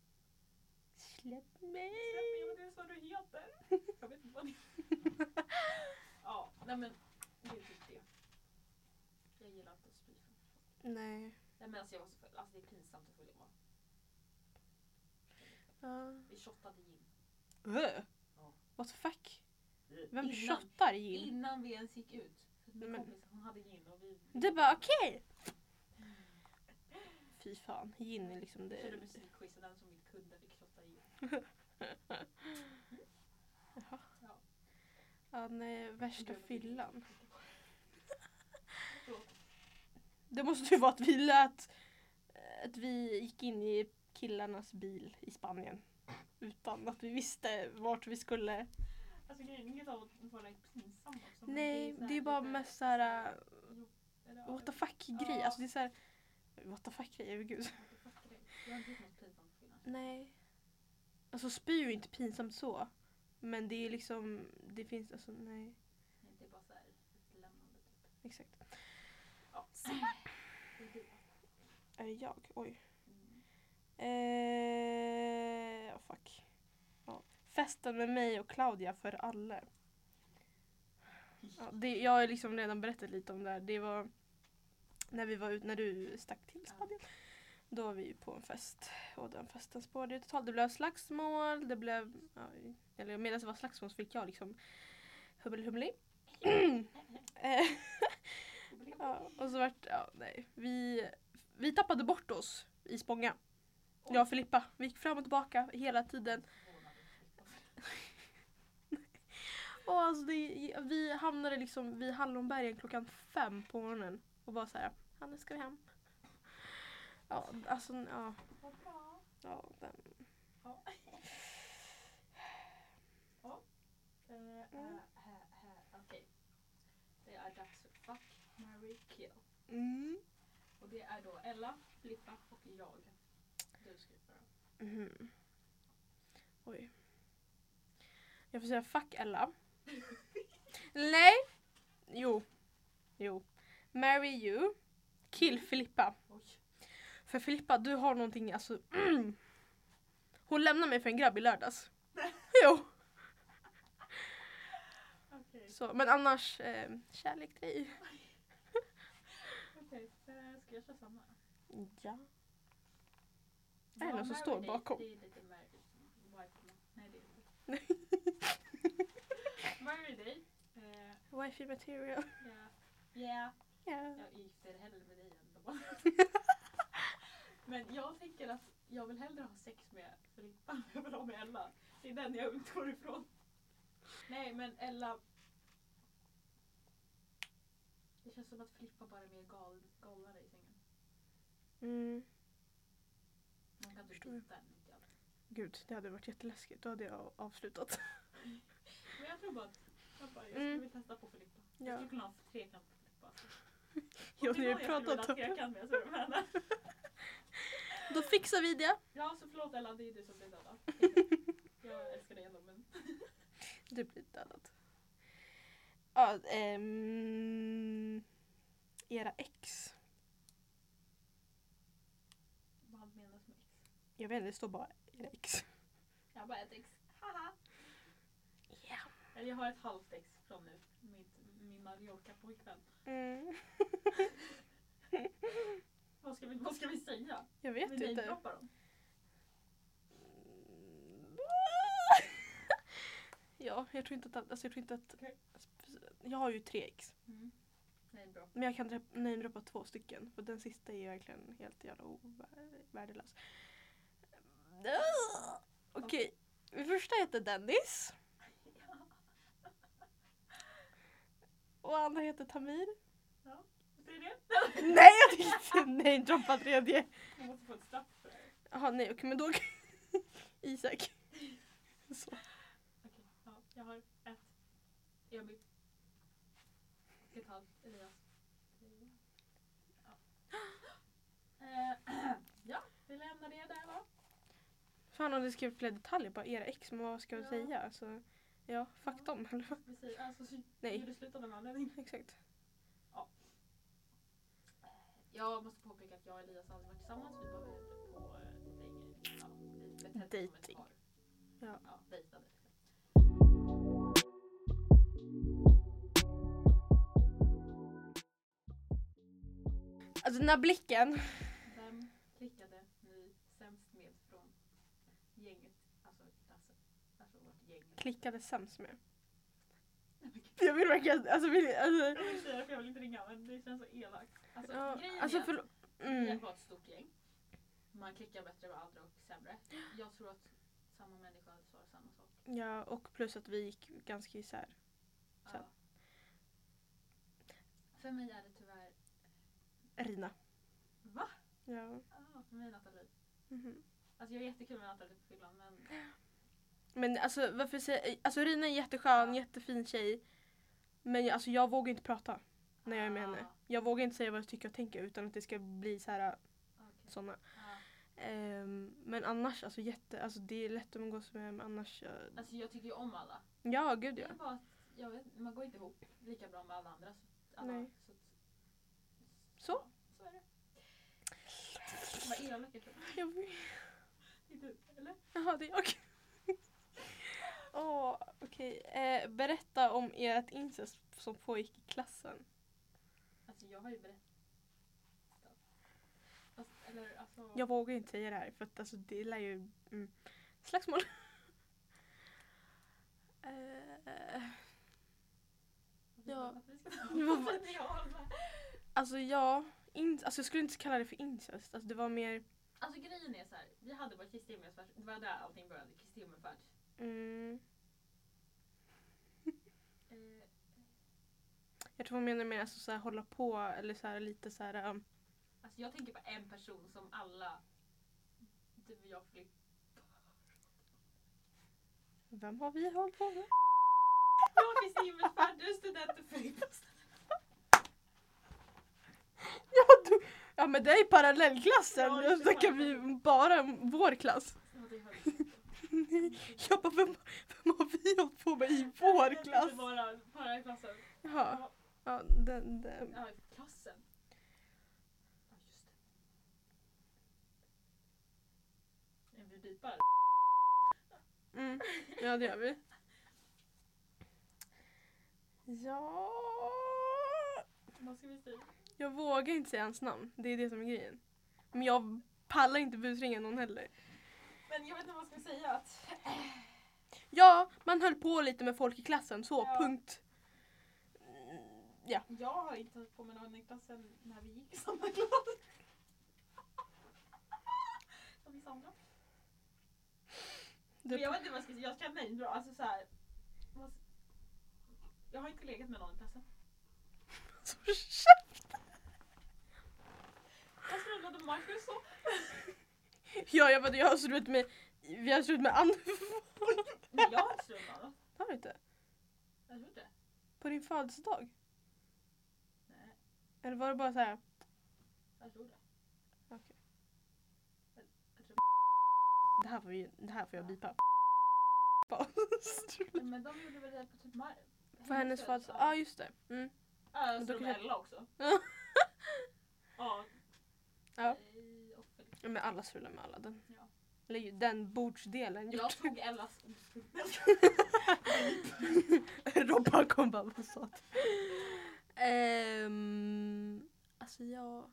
Speaker 2: Släpp mig.
Speaker 3: "Släpp mig, det är så du heter. Jag vet inte vad ni... ja, nej men det är typ det. Jag gillar inte att spy.
Speaker 2: Nej.
Speaker 3: Nej men alltså jag var så full. Alltså det är pinsamt hur full jag var.
Speaker 2: Ja.
Speaker 3: Vi shottade gin.
Speaker 2: Öh.
Speaker 3: Ja.
Speaker 2: What the fuck? Vem
Speaker 3: Innan-
Speaker 2: shottar gin?
Speaker 3: Innan vi ens gick ut. För Min
Speaker 2: Men-
Speaker 3: kompis hon hade gin och vi...
Speaker 2: Du bara okej. Fy fan, gin är liksom
Speaker 3: körde
Speaker 2: det.
Speaker 3: musikquiz och den som inte kunde fick shotta i.
Speaker 2: Ja, nej, värsta
Speaker 3: Gud, vad
Speaker 2: fyllan.
Speaker 3: Förlåt.
Speaker 2: Det måste ju vara att vi lät... Att vi gick in i killarnas bil i Spanien. Utan att vi visste vart vi skulle.
Speaker 3: Alltså grejen är inget av att vara pinsam också. men
Speaker 2: Nej,
Speaker 3: så här
Speaker 2: det är bara
Speaker 3: lite-
Speaker 2: mest såhär
Speaker 3: Eller, ja,
Speaker 2: what the fuck-grej.
Speaker 3: Ja.
Speaker 2: Alltså det är såhär... What the fuck-grej, gud.
Speaker 3: what the fuck-grej. Jag har inte gjort något pinsamt innan.
Speaker 2: Nej. Alltså spy är ju inte pinsamt så. Men det är liksom, det finns alltså nej.
Speaker 3: Det är bara såhär utlämnande typ.
Speaker 2: Exakt.
Speaker 3: Ja. Och du,
Speaker 2: Är det jag? Oj.
Speaker 3: mm.
Speaker 2: Eh, oh fuck. Ja. Festen med mig och Claudia för alla. Ja, det, jag har liksom redan berättat lite om det här. Det var när, vi var ut, när du stack till Spanien. Då var vi ju på en fest och den festen spårade ju totalt. Det blev slagsmål, det blev... Ja, eller medan det var slagsmål så fick jag liksom hubbel humli. eh, ja, och så vart... Ja, nej. Vi, vi tappade bort oss i Spånga. Jag och Filippa. Vi gick fram och tillbaka hela tiden. Och alltså det, vi hamnade liksom vid Hallonbergen klockan fem på morgonen och var så här, ja nu ska vi hem. Ja, alltså ja.
Speaker 3: Vad bra.
Speaker 2: ja den.
Speaker 3: Ja. Ja. Eh,
Speaker 2: Mm.
Speaker 3: eh, eh, eh, Okej. Det är dags för Fuck, marry, kill.
Speaker 2: Mm.
Speaker 3: Och det är då Ella, Filippa och jag. Du skriver den.
Speaker 2: Mhm. Oj. Jag får säga fuck Ella. Nej! Jo. Jo. Marry you. Kill Filippa.
Speaker 3: Oj.
Speaker 2: För Filippa, du har någonting, alltså... Mm. Hon lämnade mig för en grabb i lördags. jo.
Speaker 3: Okej.
Speaker 2: Så, men annars, eh, kärlek till dig.
Speaker 3: Okej. eh, Ska jag köra samma?
Speaker 2: Ja. Är det Äh, någon som står
Speaker 3: det,
Speaker 2: bakom?
Speaker 3: Det är lite Mary. White man. Nej det är det inte. Mary Day. Eh,
Speaker 2: Wifey material.
Speaker 3: ja. Yeah.
Speaker 2: Ja.
Speaker 3: Jag gifter hellre med dig än dem. Men jag tänker att jag vill hellre ha sex med Filippa än jag vill ha med Ella. Det är den jag utgår ifrån. Nej men Ella. Det känns som att Filippa bara är mer gal, galnare i sängen.
Speaker 2: Mm.
Speaker 3: Man kan inte
Speaker 2: Förstår.
Speaker 3: bita henne. inte jag.
Speaker 2: Gud, det hade varit jätteläskigt. Då hade jag avslutat.
Speaker 3: Men jag tror bara att jag, bara, jag skulle
Speaker 2: Mm.
Speaker 3: vilja testa på Filippa.
Speaker 2: Ja.
Speaker 3: Jag skulle kunna ha trekant på Filippa.
Speaker 2: Ja,
Speaker 3: Om det
Speaker 2: ni
Speaker 3: är
Speaker 2: har
Speaker 3: någon jag skulle
Speaker 2: pratat
Speaker 3: vilja ha
Speaker 2: om det.
Speaker 3: trekant med så är det med henne.
Speaker 2: Då fixar vi det.
Speaker 3: Ja så förlåt Ella, det är du som blir dödad. Jag älskar dig ändå men.
Speaker 2: Du blir dödad. Ja, ehm, era ex.
Speaker 3: Vad menas med ex?
Speaker 2: Jag vet inte, det står bara era ex.
Speaker 3: Jag har bara ett ex. Haha.
Speaker 2: Ja.
Speaker 3: Eller jag har ett halvt ex från nu. Mitt, min Mallorca-pojkvän.
Speaker 2: Mm.
Speaker 3: Vad ska vi, vad ska vi säga?
Speaker 2: Jag vet
Speaker 3: vi
Speaker 2: inte.
Speaker 3: namedroppar dem.
Speaker 2: Ja, jag tror inte att... Alltså jag, tror inte att
Speaker 3: Okej.
Speaker 2: jag har ju tre ex.
Speaker 3: Mm. Nej, bra.
Speaker 2: Men jag kan dra- namedroppa två stycken. För den sista är ju verkligen helt jävla ovär- värdelös. Okej. Den första heter Dennis. Och andra heter Tamir.
Speaker 3: Säg det.
Speaker 2: Nej jag tänkte namedroppa tredje.
Speaker 3: Jag måste få ett straff för det här.
Speaker 2: Jaha nej okej men då. Isak. Så.
Speaker 3: Okej, ja, jag har ett. Emil. Och ett halvt. Elias. Ja. Eh, ja, vi lämnar det där va?
Speaker 2: Fan om du skrev fler detaljer på era ex men vad ska jag
Speaker 3: Ja.
Speaker 2: säga? Alltså, ja, fuck dem eller vad?
Speaker 3: Vi säger alltså, så
Speaker 2: Nej.
Speaker 3: gjorde det slut av en anledning.
Speaker 2: Exakt.
Speaker 3: Jag måste påpeka att jag och Elias aldrig varit tillsammans. Vi var väl på eh, länge. Ja, vi betedde oss som ett
Speaker 2: Dating.
Speaker 3: par.
Speaker 2: Ja.
Speaker 3: ja, dejtade.
Speaker 2: Alltså den här blicken.
Speaker 3: Vem klickade ni sämst med från gänget? Alltså klassen. Alltså vårt gäng.
Speaker 2: Klickade sämst med.
Speaker 3: Nej, men gud.
Speaker 2: Jag vill verkligen, alltså, vill, alltså,
Speaker 3: Jag vill säga det för jag vill inte ringa men det känns så elakt. Alltså
Speaker 2: ja,
Speaker 3: grejen
Speaker 2: alltså
Speaker 3: är
Speaker 2: förlåt.
Speaker 3: att
Speaker 2: Mm.
Speaker 3: det var ett stort gäng. Man klickar bättre med andra och sämre. Jag tror att samma människa sa samma sak.
Speaker 2: Ja, och plus att vi gick ganska isär. Så.
Speaker 3: Ja. För mig är det tyvärr...
Speaker 2: Rina.
Speaker 3: Va?
Speaker 2: Ja.
Speaker 3: Ja, för mig är Nathalie.
Speaker 2: mhm.
Speaker 3: Alltså jag är jättekul med Nathalie på fyllan men
Speaker 2: Men alltså varför säger, alltså Rina är jätteskön,
Speaker 3: Ja.
Speaker 2: jättefin tjej. Men jag, alltså, jag vågar inte prata när jag är med
Speaker 3: Ah.
Speaker 2: henne. Jag vågar inte säga vad jag tycker och tänker utan att det ska bli så här
Speaker 3: okej.
Speaker 2: sådana.
Speaker 3: Ja.
Speaker 2: Ehm, men annars, alltså, jätte, alltså det är lätt att umgås med men annars... eh,
Speaker 3: Alltså jag tycker ju om alla.
Speaker 2: ja, gud
Speaker 3: Det
Speaker 2: ja.
Speaker 3: är bara att jag vet, man går inte ihop lika bra med alla andra. Så, alla,
Speaker 2: Nej.
Speaker 3: så
Speaker 2: Så.
Speaker 3: Så är det. Vad elak jag tror.
Speaker 2: Jag vet.
Speaker 3: Det är du, eller?
Speaker 2: Jaha, det är jag. Åh, okej. Eh, berätta om ert incest som pågick i klassen.
Speaker 3: Alltså jag har ju berättat. Fast, eller alltså.
Speaker 2: Jag vågar inte säga det här för att alltså, det lär ju... Mm, slagsmål. eh, ja.
Speaker 3: Vad fan är jag?
Speaker 2: alltså ja, in, alltså, jag skulle inte kalla det för incest. Alltså, det var mer...
Speaker 3: Alltså grejen är så här, vi hade vår Kristi himmelsfärd, det var där allting började, Kristi himmelsfärd.
Speaker 2: Mm,
Speaker 3: Eh,
Speaker 2: jag tror man menar mer alltså, så här, hålla på eller så här, lite så här... Um,
Speaker 3: alltså jag tänker på en person som alla, du och jag flytt.
Speaker 2: vem har vi hållit på med?
Speaker 3: Jag har Kristi himmelsfärd, du är student och flytt. Alltså,
Speaker 2: Ja, du, ja men det är parallellklassen.
Speaker 3: Ja, just det,
Speaker 2: så kan vi bara vår klass. Jag bara, vem, vem har vi hållit på med i vår klass?
Speaker 3: Bara, bara i klassen.
Speaker 2: Jaha. Ja, den, den.
Speaker 3: Ja, i klassen. Ja, just det. Är vi bipar?
Speaker 2: Mm. ja, det gör vi. Ja...
Speaker 3: Vad ska vi säga?
Speaker 2: Jag vågar inte säga hans namn, det är det som är grejen. Men jag pallar inte busringa någon heller.
Speaker 3: Men jag vet inte vad jag ska säga. Att,
Speaker 2: Ja, man höll på lite med folk i klassen, så
Speaker 3: Ja.
Speaker 2: punkt.
Speaker 3: Jag har inte hållit på med någon i klassen när vi gick i samma klass. Som vi samlar.
Speaker 2: Du-
Speaker 3: Men Jag vet inte vad jag ska säga, jag känner mig bra. Alltså så här, vad- jag har inte legat med någon i klassen.
Speaker 2: Så
Speaker 3: Jag strullade Marcus och...
Speaker 2: Ja, jag, bara, jag har slut med... Vi har slut med andra...
Speaker 3: Men jag har inte strullat någon.
Speaker 2: Har du inte?
Speaker 3: Jag tror inte.
Speaker 2: På din födelsedag?
Speaker 3: Nej,
Speaker 2: Eller var det bara så här?
Speaker 3: jag tror det.
Speaker 2: Okej.
Speaker 3: Jag- jag tror-
Speaker 2: Det här får, vi, det här får jag bipa.
Speaker 3: Men de gjorde väl det på typ Mar...
Speaker 2: På Mm. hennes födelsedag? Ja, ah, just det. Mm.
Speaker 3: Ja,
Speaker 2: Men
Speaker 3: jag
Speaker 2: då
Speaker 3: strullade
Speaker 2: kanske-
Speaker 3: Ella också.
Speaker 2: Ja.
Speaker 3: Ja.
Speaker 2: Ja.
Speaker 3: Ej, och Felix.
Speaker 2: Ja, Men alla strular med alla. Den,
Speaker 3: Ja.
Speaker 2: eller ju den bordsdelen.
Speaker 3: Jag
Speaker 2: gjort.
Speaker 3: tog Ellas oskuld.
Speaker 2: Robban kom bara och sa att... Ehm, alltså jag...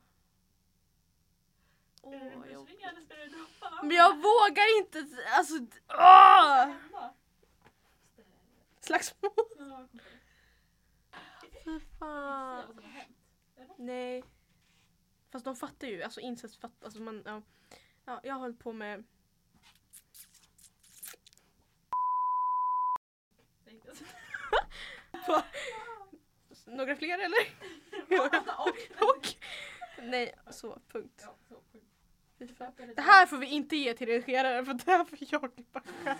Speaker 2: Åh,
Speaker 3: Är det
Speaker 2: jag...
Speaker 3: busringar eller spelar du dropparna?
Speaker 2: Men jag vågar inte... Alltså... Åh! Slagsmål. Fy fan. Nej. Fast de fattar ju, alltså incest fattar, alltså man, ja. ja jag har hållit på med, några fler eller? Och? Nej, så punkt. Fy fan. Det här får vi inte ge till redigeraren för det här får jag klippa själv.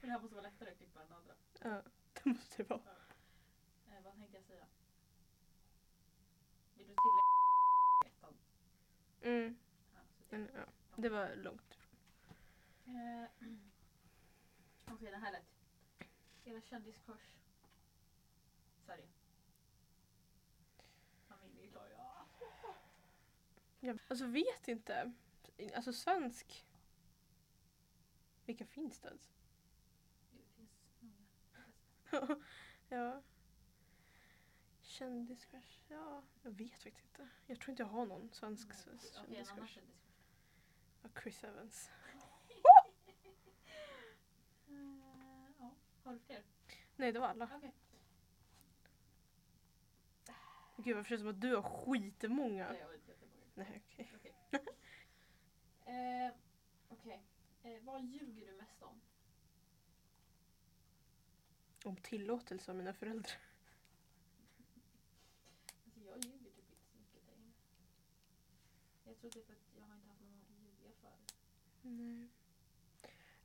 Speaker 3: Den här måste vara lättare att klippa än andra.
Speaker 2: Ja, det måste det vara.
Speaker 3: Eh, vad tänkte jag säga? Vill du tillägga ettan?
Speaker 2: Mm,
Speaker 3: Ja, så det-
Speaker 2: men, ja. Det var långt. Mm.
Speaker 3: Eh, Okej, den här lät. Era kändiskrush. Sverige. Familj, klar, ja.
Speaker 2: Jag alltså, vet inte. Alltså svensk. Vilka finns det ens?
Speaker 3: Det finns många.
Speaker 2: ja. Kändiscrush, ja. Jag vet faktiskt inte. Jag tror inte jag har någon svensk s-
Speaker 3: Mm. Okej, en annan
Speaker 2: kändiscrush.
Speaker 3: kändiscrush.
Speaker 2: Ja, Chris Evans.
Speaker 3: Eh, ja. Har du fler?
Speaker 2: Nej, det var alla.
Speaker 3: Okej.
Speaker 2: Gud, varför känns det som att du har skitmånga?
Speaker 3: Nej, jag vet inte.
Speaker 2: Nej, okej.
Speaker 3: Eh, Okej. Eh, vad ljuger du mest om?
Speaker 2: Om tillåtelse av mina föräldrar.
Speaker 3: Alltså, jag ljuger typ inte så mycket längre. Jag tror typ att jag har inte haft någon att ljuga för.
Speaker 2: Nej.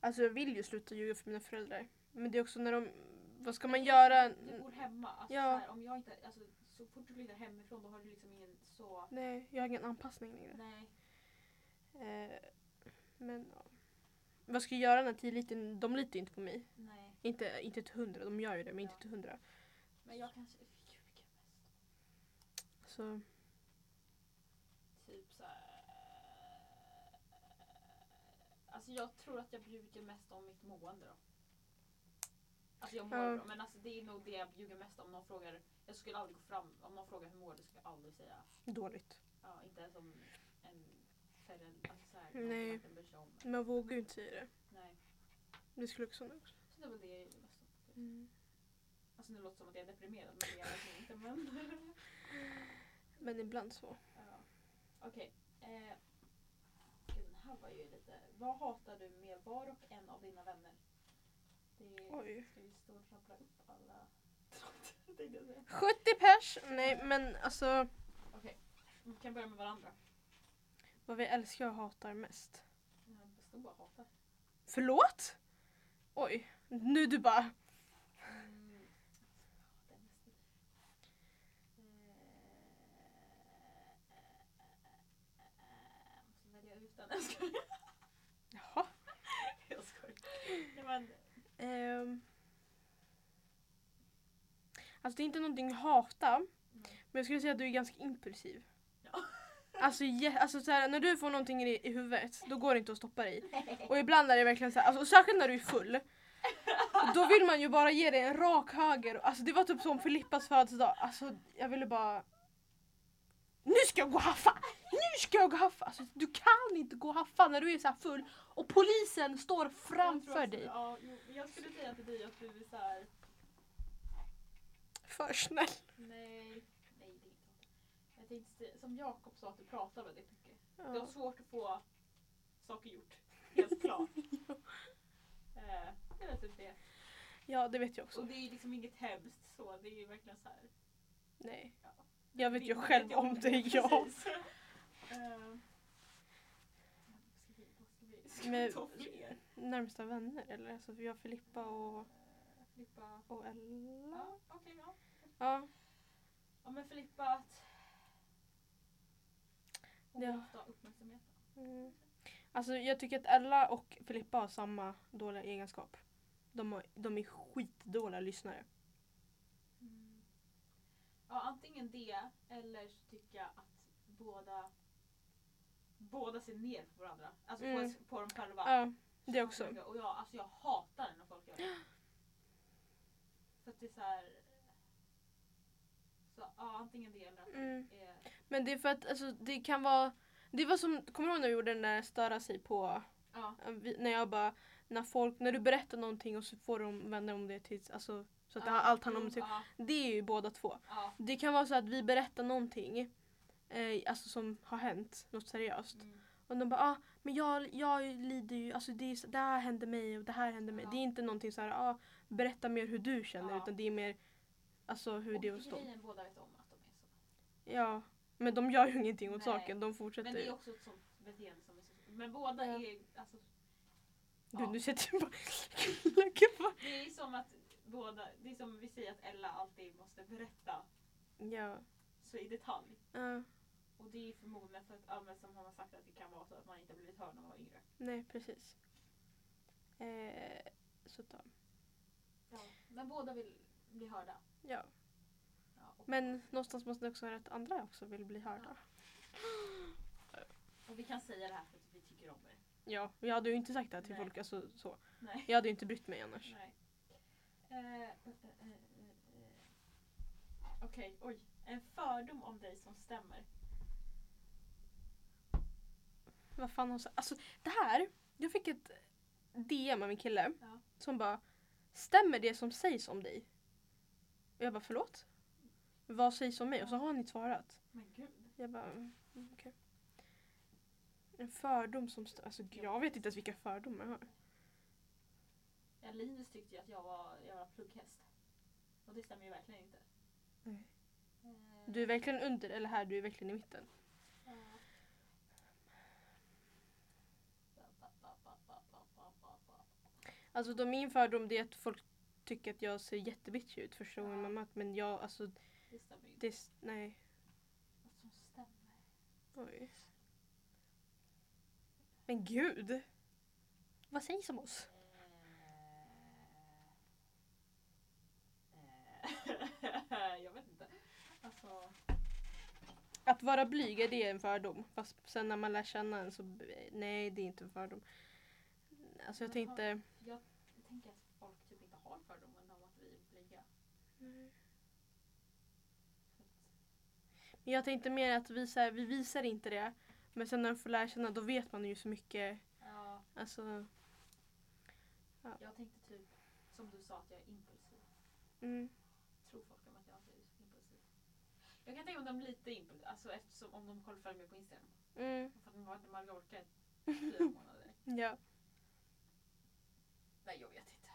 Speaker 2: Alltså jag vill ju sluta ljuga för mina föräldrar. Men det är också när de... Vad ska man göra?
Speaker 3: Du bor hemma. Alltså,
Speaker 2: Ja.
Speaker 3: så, här, om jag inte, alltså, så fort du flyttar hemifrån då har du liksom ingen så...
Speaker 2: Nej, jag har ingen anpassning längre.
Speaker 3: Nej.
Speaker 2: Eh, men ja. Vad ska jag göra när tilliten, de litar ju inte på mig.
Speaker 3: Nej.
Speaker 2: Inte, inte till hundra, de gör ju det men inte
Speaker 3: Ja.
Speaker 2: till hundra.
Speaker 3: Men jag kanske... Gud, vilken-
Speaker 2: Alltså,
Speaker 3: Typ så här... Alltså jag tror att jag ljuger mest om mitt mående då. Alltså jag mår
Speaker 2: Ja.
Speaker 3: bra men alltså det är nog det jag ljuger mest om. Någon frågar, jag skulle aldrig gå fram, om någon frågar hur mår du skulle jag aldrig säga.
Speaker 2: dåligt.
Speaker 3: Ja, inte ens om en förälder, alltså så här,
Speaker 2: Nej.
Speaker 3: någon som verkligen bryr sig om en.
Speaker 2: Men jag vågar ju inte säga det.
Speaker 3: Nej.
Speaker 2: Det skulle också kunna också.
Speaker 3: Så det var det jag ljuger mest om. Alltså nu låter det som att jag är deprimerad men det är jag verkligen inte. Men...
Speaker 2: Men ibland så.
Speaker 3: Ja. Okej. Eh, gud, den här var ju lite... Vad hatar du mer var och en av dina vänner? Det
Speaker 2: Oj.
Speaker 3: ska vi stå och rabbla upp alla tråkigheter, tänkte jag säga.
Speaker 2: 70 pers! Nej men alltså,
Speaker 3: Okej, vi kan börja med varandra.
Speaker 2: vad vi älskar och hatar mest.
Speaker 3: Jag förstod vad jag hatar.
Speaker 2: Förlåt? Oj, nu du bara...
Speaker 3: Mm. Jag hatar mest. Eh, måste välja ut den. Jag skojar.
Speaker 2: Jaha.
Speaker 3: Jag skojar. Nej, men,
Speaker 2: Ehm. Alltså det är inte någonting jag hatar. Men jag skulle säga att du är ganska impulsiv.
Speaker 3: Ja.
Speaker 2: Alltså, jä- alltså så här, när du får någonting i, i huvudet, då går det inte att stoppa dig. Och ibland är det verkligen så här, alltså, och särskilt när du är full. Då vill man ju bara ge dig en rak höger. Alltså det var typ som Filippas födelsedag. Alltså jag ville bara... Nu ska jag gå och haffa! Nu ska jag gå och haffa! Alltså du kan inte gå och haffa när du är så här full och polisen står
Speaker 3: jag tror
Speaker 2: framför
Speaker 3: också-
Speaker 2: dig.
Speaker 3: Ja, jo, jag skulle säga till dig att du är så här...
Speaker 2: För snäll.
Speaker 3: Nej, nej det är inte sant. Jag tänkte, se- som Jakob sa att du pratar väldigt mycket. Du har svårt att få saker gjort, helt klart. Eh, det är typ det.
Speaker 2: Ja det vet jag
Speaker 3: Och
Speaker 2: också.
Speaker 3: det är ju liksom inget hemskt så, det är ju verkligen så här.
Speaker 2: Nej.
Speaker 3: Ja.
Speaker 2: Jag vet ju själv om det är jag.
Speaker 3: Precis. Eh, ska vi- vad ska vi- Ska
Speaker 2: Men-
Speaker 3: vi ta fler?
Speaker 2: Närmsta vänner eller? Alltså vi har Filippa och,
Speaker 3: Filippa.
Speaker 2: och Ella.
Speaker 3: Ja, okej ja.
Speaker 2: Ja.
Speaker 3: Ja men Filippa att... Hon
Speaker 2: Ja.
Speaker 3: ja. ofta uppmärksamhet.
Speaker 2: Mm. Alltså jag tycker att Ella och Filippa har samma dåliga egenskap. De, har, de är skitdåliga lyssnare.
Speaker 3: Mm. Ja, antingen det eller så tycker jag att båda båda ser ner på varandra. Alltså
Speaker 2: Mm.
Speaker 3: på, på dem själva.
Speaker 2: Ja, det också.
Speaker 3: Och jag, alltså jag hatar när folk gör det. För att det är så här... Så, ja, antingen det eller att
Speaker 2: Mm.
Speaker 3: det är...
Speaker 2: Men det är för att alltså, det kan vara... Det var som, kommer du ihåg när vi gjorde den där störa sig på?
Speaker 3: Ja,
Speaker 2: eh, vi- När jag bara, när folk, när du berättar någonting och så får de vända om det till, alltså så att det,
Speaker 3: ja,
Speaker 2: allt handlar om
Speaker 3: jo,
Speaker 2: sig.
Speaker 3: Ja,
Speaker 2: Det är ju båda två.
Speaker 3: ja,
Speaker 2: Det kan vara så att vi berättar någonting eh, alltså som har hänt, något seriöst.
Speaker 3: mm,
Speaker 2: Och de bara ah, men jag, jag lider ju, alltså det, är, så- det här hände mig och det här hände mig.
Speaker 3: Ja.
Speaker 2: Det är inte någonting så här, ah, berätta mer hur du känner
Speaker 3: Ja.
Speaker 2: utan det är mer alltså hur det är
Speaker 3: och
Speaker 2: hos dem.
Speaker 3: grejen båda vet om att de är så.
Speaker 2: Ja, men de gör ju ingenting åt
Speaker 3: Nej.
Speaker 2: saken, de fortsätter
Speaker 3: Men det
Speaker 2: ju.
Speaker 3: är också ett sånt beteende som är så... Men båda
Speaker 2: Ja.
Speaker 3: är... Alltså,
Speaker 2: Gud
Speaker 3: ja.
Speaker 2: nu sätter jag bara Gud,
Speaker 3: Det är ju som att båda, det är som vi säger att Ella alltid måste berätta
Speaker 2: vad- Ja.
Speaker 3: så i detalj.
Speaker 2: ja,
Speaker 3: Och det är förmodligen för att, ja, men som hon har sagt att det kan vara så att man inte har blivit hörd när man var yngre.
Speaker 2: nej precis. Eh, så ta.
Speaker 3: Men båda vill bli hörda.
Speaker 2: Ja.
Speaker 3: Ja, och,
Speaker 2: Men någonstans måste det också vara att andra också vill bli hörda.
Speaker 3: och vi kan säga det här för att vi tycker om er.
Speaker 2: Ja, och jag hade ju inte sagt det här till
Speaker 3: Nej.
Speaker 2: folk. Alltså, så.
Speaker 3: Nej.
Speaker 2: Jag hade ju inte brytt mig annars.
Speaker 3: Nej. Eh, eh, eh, eh, eh. Okej, oj. En fördom om dig som stämmer.
Speaker 2: Vad fan har hon sagt? Alltså det här, jag fick ett DM av min kille
Speaker 3: Ja.
Speaker 2: som bara Stämmer det som sägs om dig? Och jag bara förlåt? Vad sägs om mig? Och så har han inte svarat.
Speaker 3: Men gud.
Speaker 2: Jag bara mm, okej. En fördom som stämmer. Alltså gud, jag vet inte ens vilka fördomar jag har.
Speaker 3: Ja, Linus tyckte ju att jag var, jag var plugghäst. Och det stämmer ju verkligen inte.
Speaker 2: Nej.
Speaker 3: Eh,
Speaker 2: Du är verkligen under eller här, du är verkligen i mitten. Alltså då min fördom det är att folk tycker att jag ser jättebitchig ut första gången man möter men jag alltså
Speaker 3: Det stämmer ju inte.
Speaker 2: det, s- nej.
Speaker 3: Vad som stämmer.
Speaker 2: Oj. Men gud! Vad sägs om oss?
Speaker 3: Eh, eh, jag vet inte. Alltså,
Speaker 2: Att vara blyg, är det en fördom? Fast sen när man lär känna en så, nej det är inte en fördom. Alltså jag
Speaker 3: Men har-
Speaker 2: tänkte,
Speaker 3: Jag tänker att folk typ inte har fördomen om att vi är blyga.
Speaker 2: jag tänkte mer att vi, så här, vi visar inte det. Men sen när man får lära känna då vet man ju så mycket.
Speaker 3: Ja,
Speaker 2: Alltså,
Speaker 3: jag tänkte typ som du sa att jag är impulsiv.
Speaker 2: mm,
Speaker 3: Tror folk om att jag inte är impulsiv? Jag kan tänka mig att de är lite impulsiva. Alltså eftersom om de kollar följer mig på Instagram.
Speaker 2: mm,
Speaker 3: För att de var inte Mallorca i fyra månader.
Speaker 2: ja.
Speaker 3: Nej jag vet inte.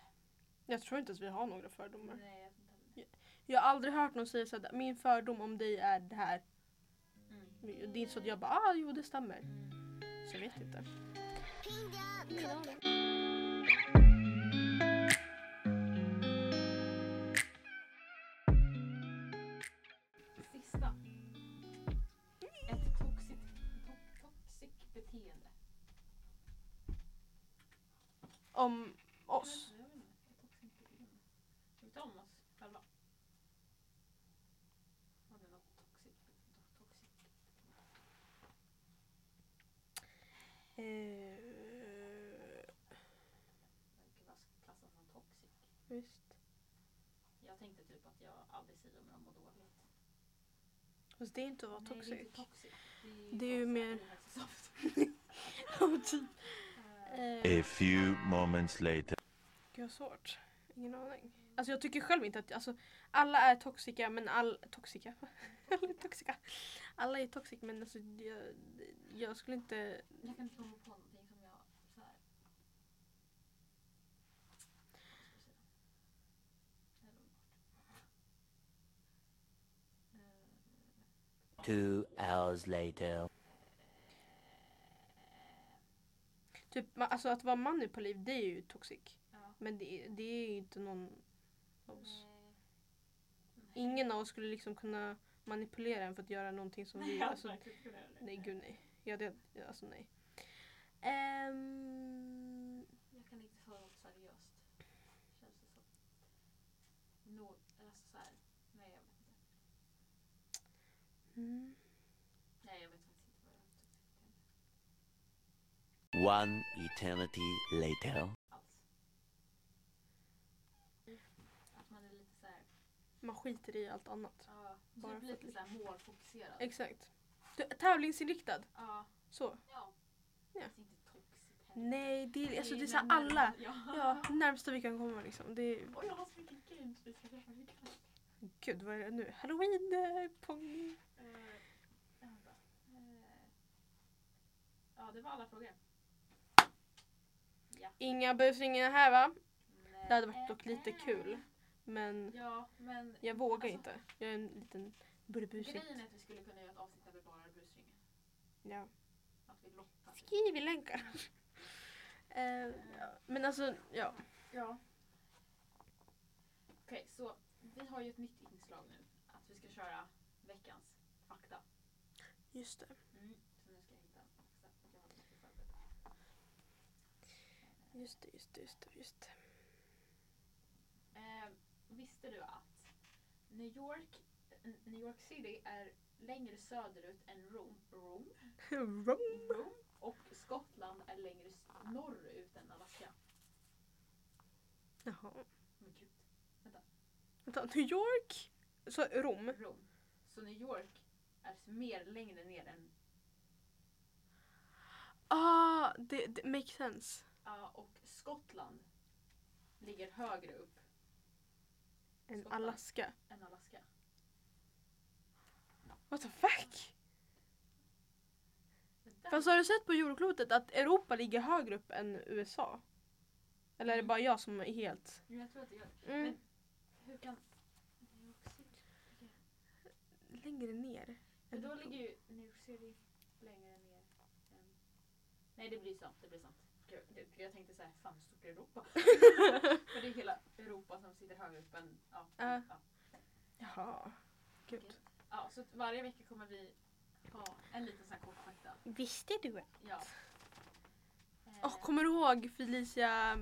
Speaker 2: Jag tror inte att vi har några fördomar.
Speaker 3: Nej jag vet inte heller.
Speaker 2: Jag har aldrig hört någon säga så här, min fördom om dig är det här.
Speaker 3: Mm.
Speaker 2: Det är inte så att jag bara, ah jo det stämmer. Så jag vet inte.
Speaker 3: Sista. Ett toxic, to- toxic beteende.
Speaker 2: Om oss.
Speaker 3: Jag vet inte, jag vet inte, ett toxic beteende. Tycker inte om oss själva. Har vi något toxic? toxic?
Speaker 2: Eh,
Speaker 3: Gud, vad ska klassas som toxic?
Speaker 2: visst.
Speaker 3: Jag tänkte typ att jag aldrig säger om jag mår dåligt.
Speaker 2: Fast det är inte att vara
Speaker 3: Nej, det är
Speaker 2: toxic.
Speaker 3: inte toxic.
Speaker 2: Det är ju
Speaker 3: bara
Speaker 2: mer-
Speaker 3: så här inacceptabelt.
Speaker 2: Ja, typ.
Speaker 3: Eh,
Speaker 2: Eh,
Speaker 5: A few moments later.
Speaker 2: Gud vad svårt. Ingen aning. Alltså jag tycker själv inte att, alltså alla är toxika men all, toxika? alla är toxika. Alla är toxic men alltså jag, jag skulle inte,
Speaker 3: Jag kan inte komma på någonting som jag så här. Vad ska jag säga? Det här är underbart. Eh,
Speaker 6: Two hours later.
Speaker 2: typ ma- alltså att vara manipulativ det är ju toxic.
Speaker 3: Ja.
Speaker 2: Men det, det är ju inte någon av oss.
Speaker 3: Nej.
Speaker 2: Ingen av oss skulle liksom kunna manipulera en för att göra någonting som vi, alltså
Speaker 3: verkligen kunde göra det.
Speaker 2: nej gud nej. Ja, det, alltså nej. Ehm,
Speaker 3: Jag kan inte ta något seriöst. Känns det som. Nå, alltså så här. Nej jag vet inte.
Speaker 2: mm.
Speaker 3: Nej jag vet faktiskt inte vad jag tycker
Speaker 6: One eternity later.
Speaker 3: alls.
Speaker 2: Mm.
Speaker 3: Att man är lite så här.
Speaker 2: man skiter i allt annat.
Speaker 3: Ja,
Speaker 2: Bara
Speaker 3: typ
Speaker 2: för
Speaker 3: lite
Speaker 2: att-
Speaker 3: så här målfokuserad.
Speaker 2: Exakt. Du, tävlingsinriktad.
Speaker 3: ja.
Speaker 2: Så.
Speaker 3: Ja.
Speaker 2: Ja.
Speaker 3: Det är inte toxic heller.
Speaker 2: Nej, det är, alltså, det är
Speaker 3: ju
Speaker 2: så här
Speaker 3: när-
Speaker 2: alla. Ja,
Speaker 3: Ja.
Speaker 2: närmsta vi kan komma liksom. Det är,
Speaker 3: Och jag har så mycket games vi ska göra ikväll.
Speaker 2: gud, vad är det nu? Halloween, eh, pong.
Speaker 3: Eh, ja, bra. Eh, Ja, det var alla frågor.
Speaker 2: Inga busringningar här va?
Speaker 3: Nej.
Speaker 2: Det hade varit dock lite kul. Men
Speaker 3: Eh, Ja, men
Speaker 2: jag vågar
Speaker 3: Alltså-
Speaker 2: inte. Jag är en liten bullebusig.
Speaker 3: grejen är att vi skulle kunna göra ett avsnitt där vi bara har busringar.
Speaker 2: Ja.
Speaker 3: Att vi lottar. typ.
Speaker 2: Skriv i länkar. Eh, ja. Men alltså, ja.
Speaker 3: Ja. Okej, så vi har ju ett nytt inslag nu. Att vi ska köra veckans fakta.
Speaker 2: Just det.
Speaker 3: Mm. Så nu ska jag hitta en fakta. Jag har lite förberett.
Speaker 2: Just det, just det, just det. Just det.
Speaker 3: Eh, visste du att New York, eh, New York City är längre söderut än Rom, Rom,
Speaker 2: Rom.
Speaker 3: Rom och Skottland är längre s- norrut än Alaska?
Speaker 2: Jaha.
Speaker 3: Men gud,
Speaker 2: Vänta, New York? Så Rom?
Speaker 3: Rom. Så New York är s- mer längre ner än
Speaker 2: Ah, det, det makes sense.
Speaker 3: ja, och Skottland ligger högre upp
Speaker 2: En
Speaker 3: Skottland.
Speaker 2: Alaska.
Speaker 3: än Alaska.
Speaker 2: What the fuck?
Speaker 3: Men där-
Speaker 2: Fast har du sett på jordklotet att Europa ligger högre upp än USA? Eller
Speaker 3: Mm.
Speaker 2: är det bara jag som är helt...
Speaker 3: Men jag tror att det gör.
Speaker 2: Mm.
Speaker 3: Hur kan New York City?
Speaker 2: Längre ner.
Speaker 3: Men då
Speaker 2: Europa.
Speaker 3: ligger ju New York City längre ner än... Nej det blir sant, det blir sant. Gud, det- jag tänkte såhär, fan hur stort är Europa? För det är hela Europa som sitter högre upp än... Ja,
Speaker 2: Ja.
Speaker 3: ja.
Speaker 2: Jaha. Gud.
Speaker 3: ja så att varje vecka kommer vi ha en liten sån här kort fakta.
Speaker 2: Visste du?
Speaker 3: Ja. Eh,
Speaker 2: Och kommer du ihåg Felicia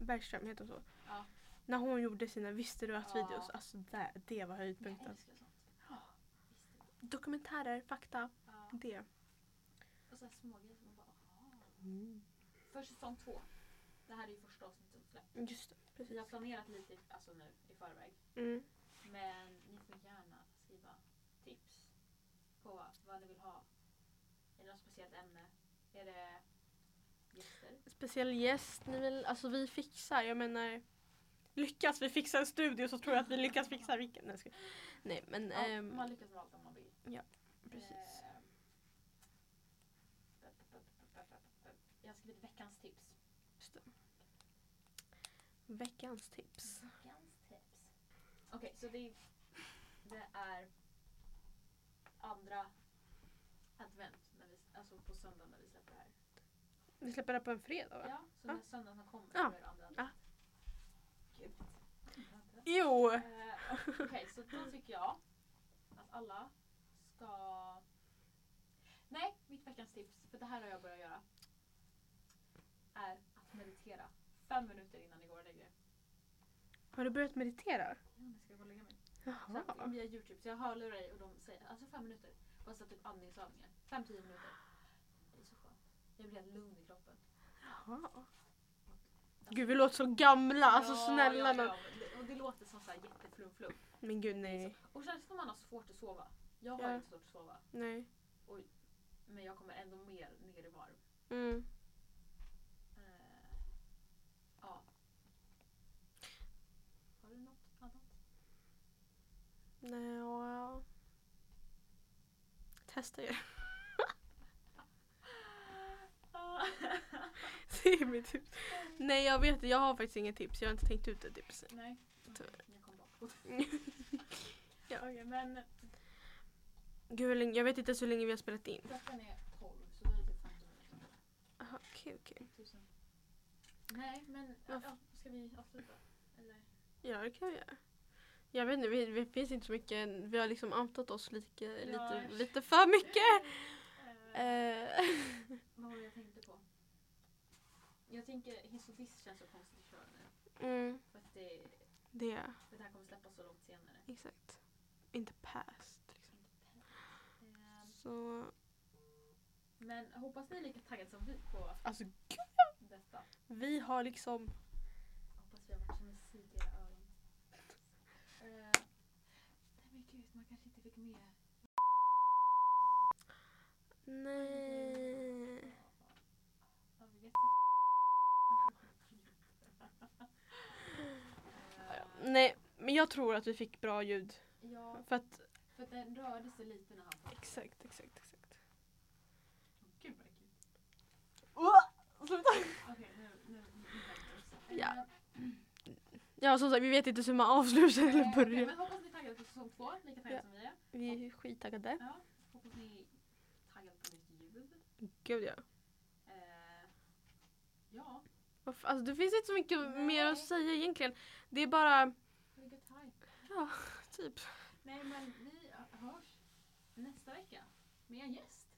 Speaker 2: Bergström, heter hon så?
Speaker 3: Ja.
Speaker 2: När hon gjorde sina Visste du att-videos.
Speaker 3: Ja.
Speaker 2: Alltså det, det var
Speaker 3: jag
Speaker 2: höjdpunkten.
Speaker 3: älskar sånt. Visst.
Speaker 2: Dokumentärer, fakta.
Speaker 3: Ja.
Speaker 2: Det.
Speaker 3: Och så här små grejer som man bara aha. Mm. För säsong två. Det här är ju första avsnittet som släpps.
Speaker 2: Just det.
Speaker 3: Vi
Speaker 2: Precis.
Speaker 3: har planerat lite alltså nu i förväg.
Speaker 2: Mm.
Speaker 3: Men ni får gärna skriva tips på vad ni vill ha. Är det något speciellt ämne? Är det gäster?
Speaker 2: Speciell gäst ni vill, alltså vi fixar, jag menar Lyckas vi fixa en studio så tror jag att vi lyckas fixa vilken. Nej, jag skojar. Nej men
Speaker 3: Ja,
Speaker 2: ehm,
Speaker 3: man lyckas med allt om man vill.
Speaker 2: precis.
Speaker 3: Ehm. Jag har skrivit veckans tips.
Speaker 2: Just det. Veckans tips.
Speaker 3: Veckans tips. Okej, så det, det är andra advent, när vi, alltså på söndag när vi släpper det här.
Speaker 2: Vi släpper det på en fredag va?
Speaker 3: Ja, så
Speaker 2: Ja.
Speaker 3: när söndagen som kommer
Speaker 2: Ja.
Speaker 3: så är det andra
Speaker 2: Ja.
Speaker 3: advent. Gud.
Speaker 2: Jo!
Speaker 3: Eh, Okej, så då tycker jag att alla ska... Nej, mitt veckans tips, för det här har jag börjat göra, är att meditera fem minuter innan ni går och lägger er.
Speaker 2: Har du börjat meditera?
Speaker 3: Ja, nu ska jag gå och lägga mig. Så
Speaker 2: Jaha.
Speaker 3: att, via Youtube, så jag hörlurar i och de säger alltså fem minuter. Bara så typ andningsövningar. Fem, tio minuter. Det är så skönt. Jag blir helt lugn i kroppen.
Speaker 2: Jaha. Gud vi låter så gamla, alltså
Speaker 3: Ja,
Speaker 2: snälla
Speaker 3: ja,
Speaker 2: nån.
Speaker 3: ja. Det- Och det låter som såhär jätteflumflum.
Speaker 2: Men gud nej.
Speaker 3: Och sen ska man ha svårt att sova. Jag har
Speaker 2: Ja.
Speaker 3: inte svårt att sova.
Speaker 2: Nej.
Speaker 3: Men jag kommer ändå mer ner i varv.
Speaker 2: Mm.
Speaker 3: Eh, ja. Har du något annat?
Speaker 2: Nej, ja. Testa ju. Det är mitt tips. Nej jag vet inte, jag har faktiskt inget tips. Jag har inte tänkt ut typ. ett tips.
Speaker 3: Nej.
Speaker 2: Tyvärr.
Speaker 3: Jag kom bakåt.
Speaker 2: Ja.
Speaker 3: Okej, men
Speaker 2: Gud hur länge, jag vet inte ens hur länge vi har spelat in.
Speaker 3: klockan är 12 så då är det typ 15 minuter.
Speaker 2: Aha, Okej okej.
Speaker 3: Tusen. Nej, men ja, ja, ska vi avsluta? Eller?
Speaker 2: Ja det kan vi göra. Jag vet inte, vi, vi finns inte så mycket. Vi har liksom outat oss lite, lite,
Speaker 3: Ja.
Speaker 2: lite för mycket.
Speaker 3: Eh,
Speaker 2: Eh,
Speaker 3: vad var det jag tänkte på? Jag tänker hiss och diss känns så konstigt att köra nu.
Speaker 2: mm,
Speaker 3: För att det,
Speaker 2: det,
Speaker 3: för det här kommer släppas så långt senare.
Speaker 2: exakt. Inte past. Liksom.
Speaker 3: Eh,
Speaker 2: Så,
Speaker 3: men hoppas ni är lika taggade som vi på
Speaker 2: alltså
Speaker 3: detta.
Speaker 2: vi har liksom
Speaker 3: Hoppas vi har varit som musik i era öron. Eh, nej men gud, man kanske inte fick med.
Speaker 2: Nej.
Speaker 3: Ja, vi vet inte. Eh,
Speaker 2: Nej, men jag tror att vi fick bra ljud.
Speaker 3: Ja,
Speaker 2: För att,
Speaker 3: för att den rörde sig lite när han pratade.
Speaker 2: exakt, exakt, exakt.
Speaker 3: Gud vad kul.
Speaker 2: Sluta.
Speaker 3: Okej, nu, nu, nu vänder vi oss.
Speaker 2: Ja.
Speaker 3: Eh,
Speaker 2: Ja, som sagt, vi vet inte hur man avslutar eller
Speaker 3: eh, okej,
Speaker 2: börjar.
Speaker 3: men hoppas ni är taggade på säsong två, lika taggade
Speaker 2: Ja.
Speaker 3: som vi är.
Speaker 2: Vi är skittaggade.
Speaker 3: Ja. Hoppas ni är taggade på nytt ljud.
Speaker 2: Gud ja.
Speaker 3: Eh, ja,
Speaker 2: Varför- Alltså, det finns inte så mycket
Speaker 3: Nej.
Speaker 2: mer att säga egentligen. Det är bara,
Speaker 3: have a good time.
Speaker 2: ja, typ.
Speaker 3: Nej men vi hörs nästa vecka med en gäst.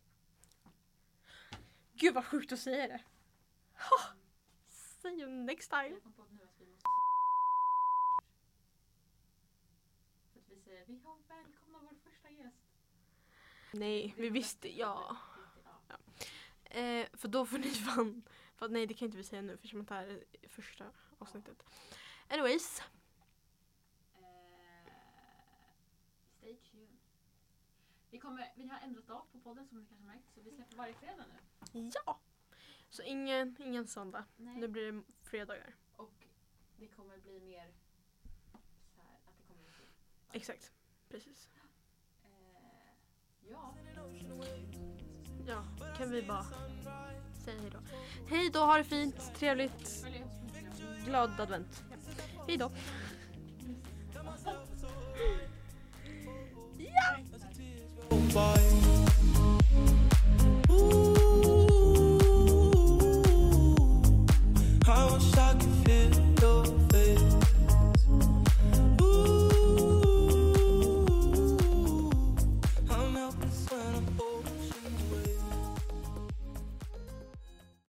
Speaker 2: Gud vad sjukt att säga det. Ha! See you next time.
Speaker 3: Jag kom på nu att vi måste För att vi säger vi har välkomna vår första gäst.
Speaker 2: Nej,
Speaker 3: Det
Speaker 2: vi
Speaker 3: är
Speaker 2: visste,
Speaker 3: bättre.
Speaker 2: ja.
Speaker 3: Ja.
Speaker 2: Eh, för då får ni fan... För, nej, det kan inte vi säga nu eftersom att det här är första avsnittet. Anyways.
Speaker 3: Eh, stay tuned. Vi, kommer, vi har ändrat dag på podden som ni kanske märkt så vi släpper varje fredag nu.
Speaker 2: Ja! Så ingen, ingen söndag.
Speaker 3: Nej.
Speaker 2: Nu blir det fredagar.
Speaker 3: Och det kommer bli mer så här att det kommer bli kul.
Speaker 2: Exakt. Precis.
Speaker 3: Eh, ja.
Speaker 2: Ja, kan vi bara säga hej då. Hej då, ha det fint, trevligt,
Speaker 3: Följ oss på Instagram.
Speaker 2: glad advent. Hej då.
Speaker 1: by. Ooh, I wish I could feel your